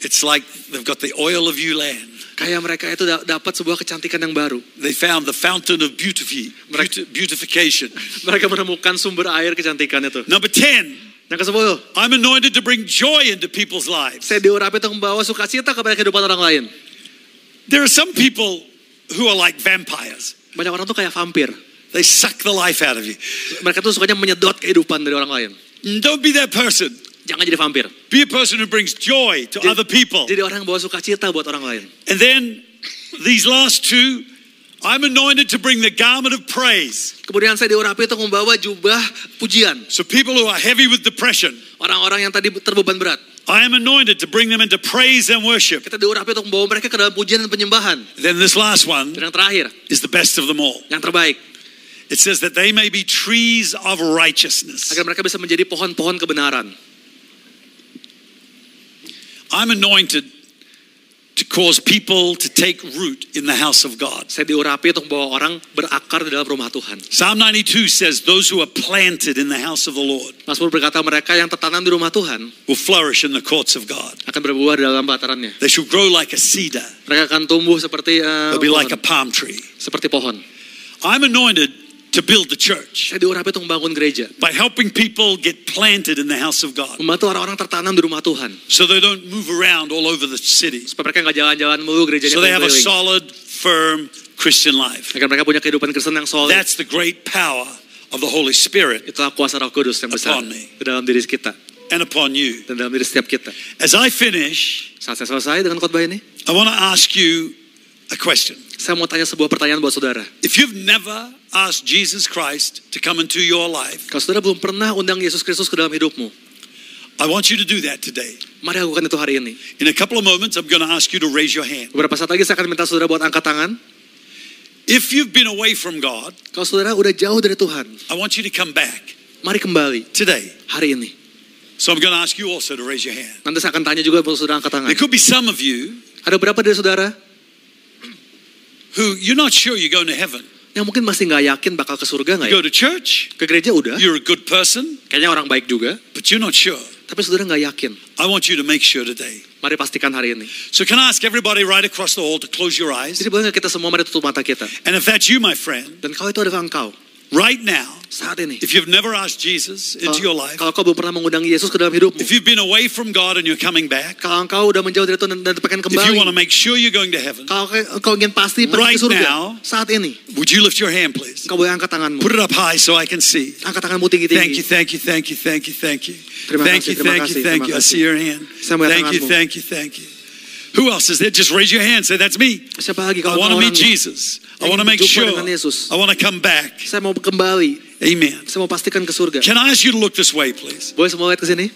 it's like they've got the oil of Ulan.
kayak mereka itu da- dapat sebuah kecantikan yang baru.
They found the fountain of beauty, beauti- beautification.
Mereka menemukan sumber air kecantikan itu.
Number 10,
Yang ke-10,
I'm anointed to bring joy into people's lives.
saya diurapi untuk membawa sukacita kepada kehidupan orang lain.
There are some people who are like vampires.
Banyak orang tuh kayak vampir.
They suck the life out of you.
Mereka tuh sukanya menyedot kehidupan dari orang lain.
Mm, Don't be that person.
Jangan jadi vampir.
Be a person who brings joy to other people.
Jadi orang yang bawa sukacita buat orang lain.
And then these last two, I'm anointed to bring the garment of praise.
Kemudian saya diurapi untuk membawa jubah pujian.
So people who are heavy with depression,
Orang-orang yang tadi terbeban berat.
I am anointed to bring them into praise and worship.
Kita diurapi untuk membawa mereka ke dalam pujian dan penyembahan.
Then this last one
Dan yang terakhir,
is the best of them all.
yang terbaik.
It says that they may be trees of righteousness.
Agar mereka bisa menjadi pohon-pohon kebenaran.
I'm anointed to cause people to take root in the house of God.
Saya diurapi untuk membawa orang berakar di dalam rumah Tuhan.
Psalm 92 says, Those who are planted in the house of the Lord
Mazmur berkata mereka yang tertanam di rumah Tuhan
will flourish in the courts of God.
akan berbuah di dalam pelatarannya.
They shall grow like a cedar,
Mereka akan tumbuh seperty eh,
they'll be like a palm
pohon,
tree.
seperti pohon.
I'm anointed to build the church
Saya diurapi untuk membangun gereja,
by helping people get planted in the house of God
membantu orang-orang tertanam di rumah Tuhan
so they don't move around all over the city.
supaya mereka nggak jalan-jalan mulu gerejanya
So they have a
keliling.
solid, firm Christian life.
agar mereka punya kehidupan Kristen yang solid.
That's the great power of the Holy Spirit
Itulah kuasa Roh Kudus yang besar
Upon me.
di dalam diri kita
and upon you.
dan dalam diri setiap kita.
As I finish,
Saat saya selesai dengan khotbah ini,
I want to ask you a question.
saya mau tanya sebuah pertanyaan buat saudara.
If you've never asked Jesus Christ to come into your life,
Kalau saudara belum pernah undang Yesus Kristus ke dalam hidupmu,
I want you to do that today.
mari lakukan itu hari ini.
In a couple of moments, I'm going to ask you to raise your hand.
Beberapa saat lagi saya akan minta saudara buat angkat tangan.
If you've been away from God,
Kalau saudara udah jauh dari Tuhan,
I want you to come back
mari kembali
today.
hari ini.
So I'm going to ask you also to raise your hand.
Nanti saya akan tanya juga buat saudara angkat tangan.
There could be some of you
Ada berapa dari saudara
who you're not sure you're going to heaven.
yang mungkin masih nggak yakin bakal ke surga nggak
You
ya?
go to church,
Ke gereja udah,
you're a good person,
kayaknya orang baik juga,
but you're not sure.
tapi saudara nggak yakin.
I want you to make sure today.
Mari pastikan hari ini.
So, can I ask everybody right across the hall to close your eyes?
Jadi boleh nggak kita semua mari tutup mata kita.
And if that's you, my friend,
Dan kalau itu adalah engkau
right now,
saat ini.
if you've never asked Jesus into your
Kalau,
life,
kalau kau belum pernah mengundang Yesus ke dalam hidupmu.
if you've been away from God and you're coming back,
Kalau engkau udah menjauh dari Tuhan dan, dan pengen
if you want to
kembali.
make sure you're going to heaven,
Kalau ke- engkau ingin pasti pergi
Right
ke surga
now.
saat ini.
would you lift your hand, please?
Engkau boleh angkat tanganmu.
Put it up high so I can see.
Angkat tanganmu
Thank you,
tinggi-tinggi.
thank you, thank you, thank you, thank you.
Terima
Thank
kasih,
you,
terima
thank you,
kasih,
thank
terima
you. I
kasih.
see your hand.
Saya melihat
Thank you,
tanganmu.
thank you, thank you. Who else is there? Just raise your hand. Say, that's me.
Siapa lagi
I
kalau
want to
orang
meet Jesus. I
Ingin
want to make
berjumpa
sure.
dengan Yesus.
I want to come back.
Saya mau kembali.
Amen.
Saya mau pastikan ke surga.
Can I ask you to look this way, please?
Boleh semua lihat ke sini?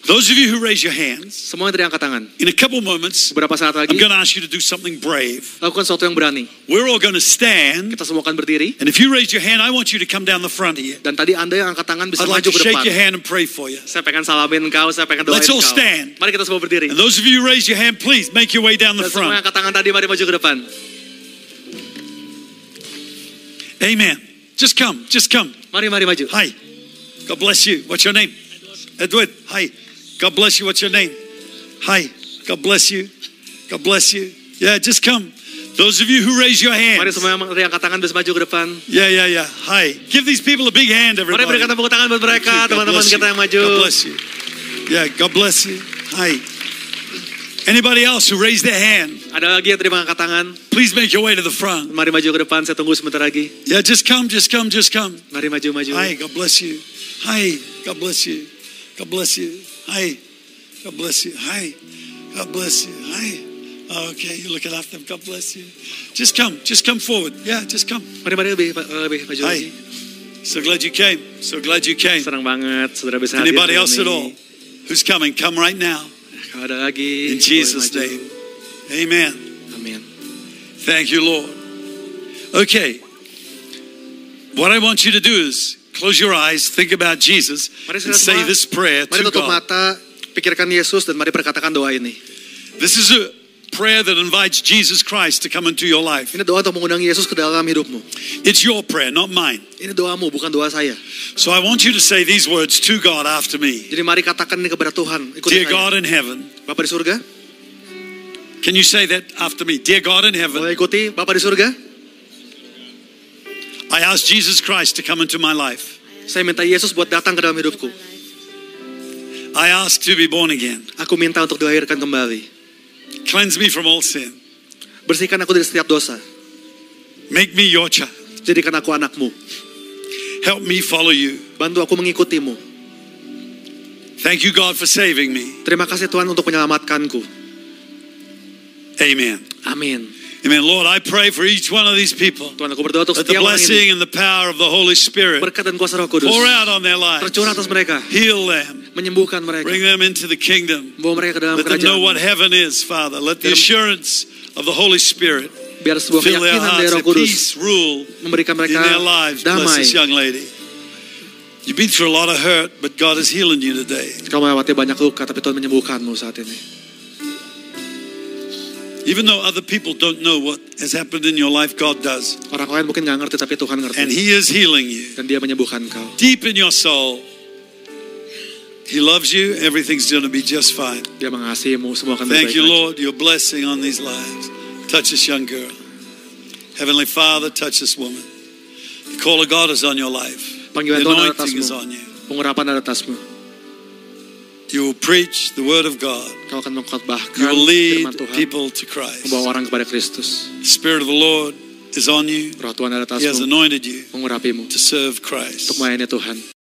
Those of you who raise your hands,
Semua tadi angkat tangan.
in a couple moments,
Beberapa saat
I'm
lagi
going to ask you to do something brave.
lakukan sesuatu yang berani.
We're all going to stand.
Kita semua akan berdiri.
And if you raise your hand, I want you to come down the front here.
Dan tadi anda yang angkat tangan bisa
I'd like
maju
to
ke
shake
depan.
your hand and pray for you.
Saya pengen salamin kau, saya pengen doain
Let's all
kau.
stand.
Mari kita semua berdiri.
And those of you who raise your hand, please make your way down the
Dan semua
front.
yang angkat tangan tadi mari maju ke depan.
Amen. Just come. Just come.
Mari mari maju.
Hi. God bless you. What's your name? Edward. Hi. God bless you. What's your name? Hi. God bless you. God bless you. Yeah, just come. Those of you who raise your hand.
Mari semua yang mari angkat tangan bisa maju ke depan.
Yeah, yeah, yeah. Hi. Give these people a big hand,
Mari
everybody.
berikan tepuk tangan buat
Thank you.
mereka,
God
teman-teman
bless you.
kita yang maju.
God bless you. Yeah, God bless you. Hi. Anybody else who raised their hand,
Ada lagi yang terima angkat tangan.
please make your way to the front.
Mari maju ke depan, saya tunggu sebentar lagi.
Yeah, just come, just come, just come.
Mari maju maju.
Hi, God bless you. Hi, God bless you. God bless you. Hi, God bless you. Hi, God bless you. Hi. Oh, Okay, you're looking after them. God bless you. Just come, just come forward. Yeah, just come.
Mari mari lebih lebih maju lagi.
Hi. So glad you came. So glad you came.
Senang banget saudara bisa hadir.
Anybody
hari
else at all?
ini.
Who's coming? Come right now.
Kalau ada lagi.
In Jesus'
boleh maju.
name. Amen.
Amin.
Thank you, Lord. Okay. What I want you to do is close your eyes, think about Jesus,
Mari
and
saudara
say
semua,
this prayer
Mari
to
tutup
God.
mata, pikirkan Yesus dan mari perkatakan doa ini.
This is a prayer that invites Jesus Christ to come into your life.
Ini doa untuk mengundang Yesus ke dalam hidupmu.
It's your prayer, not mine.
Ini doamu, bukan doa saya.
So I want you to say these words to God after me.
Jadi mari katakan ini kepada Tuhan. Ikuti
Dear
saya.
God in heaven,
Bapak di surga,
can you say that after me? Dear God in heaven,
boleh ikuti Bapak di surga.
I ask Jesus Christ to come into my life.
Saya minta Yesus buat datang ke dalam hidupku.
I ask to be born again.
Aku minta untuk dilahirkan kembali.
Cleanse me from all sin.
Bersihkan aku dari setiap dosa.
Make me your child.
Jadikan aku anakmu.
Help me follow you.
Bantu aku mengikutimu.
Thank you, God, for saving me.
Terima kasih Tuhan untuk menyelamatkanku.
Amen.
Amin.
Amen. Lord, I pray for each one of these people
Tuhan aku berdoa untuk
that the
setiap orang ini.
blessing and the power of the Holy Spirit
Berkat dan kuasa roh kudus.
pour out on their lives,
Tercurah atas mereka.
heal them,
Menyembuhkan mereka.
bring them into the kingdom.
Bawa mereka ke dalam
Let them know
kerajaan.
what heaven is, Father. Let the
Dalam-
assurance of the Holy Spirit
Biar sebuah
fill their
keyakinan dari
hearts
roh
and
kudus.
peace rule
Memberikan
in
mereka
their lives. Bless
damai.
this young lady. You've been through a lot of hurt, but God is healing you today.
Kau melewati banyak luka, tapi Tuhan menyembuhkanmu saat ini.
Even though other people don't know what has happened in your life, God does.
Orang lain mungkin nggak ngerti, tapi Tuhan ngerti.
And He is healing you.
Dan dia menyembuhkan kau.
deep in your soul. He loves you. Everything's going to be just fine.
Dia mengasihimu, semua akan
Thank
baik
you, Lord. Your blessing on these lives. Touch this young girl. Heavenly Father, touch this woman. The call of God is on your life. The
Panggilan Tuhan
anointing is
atasmu.
on you.
Pengurapan ada atasmu.
You will preach the word of God.
Kau akan mengkhotbahkan
You will
firman
lead
Tuhan.
people to Christ.
Membawa orang kepada Kristus.
The Spirit of the Lord is on you.
Roh Tuhan ada
He has
atasmu.
anointed you
Mengurapimu.
to serve
Untuk
Christ.
melayani Tuhan.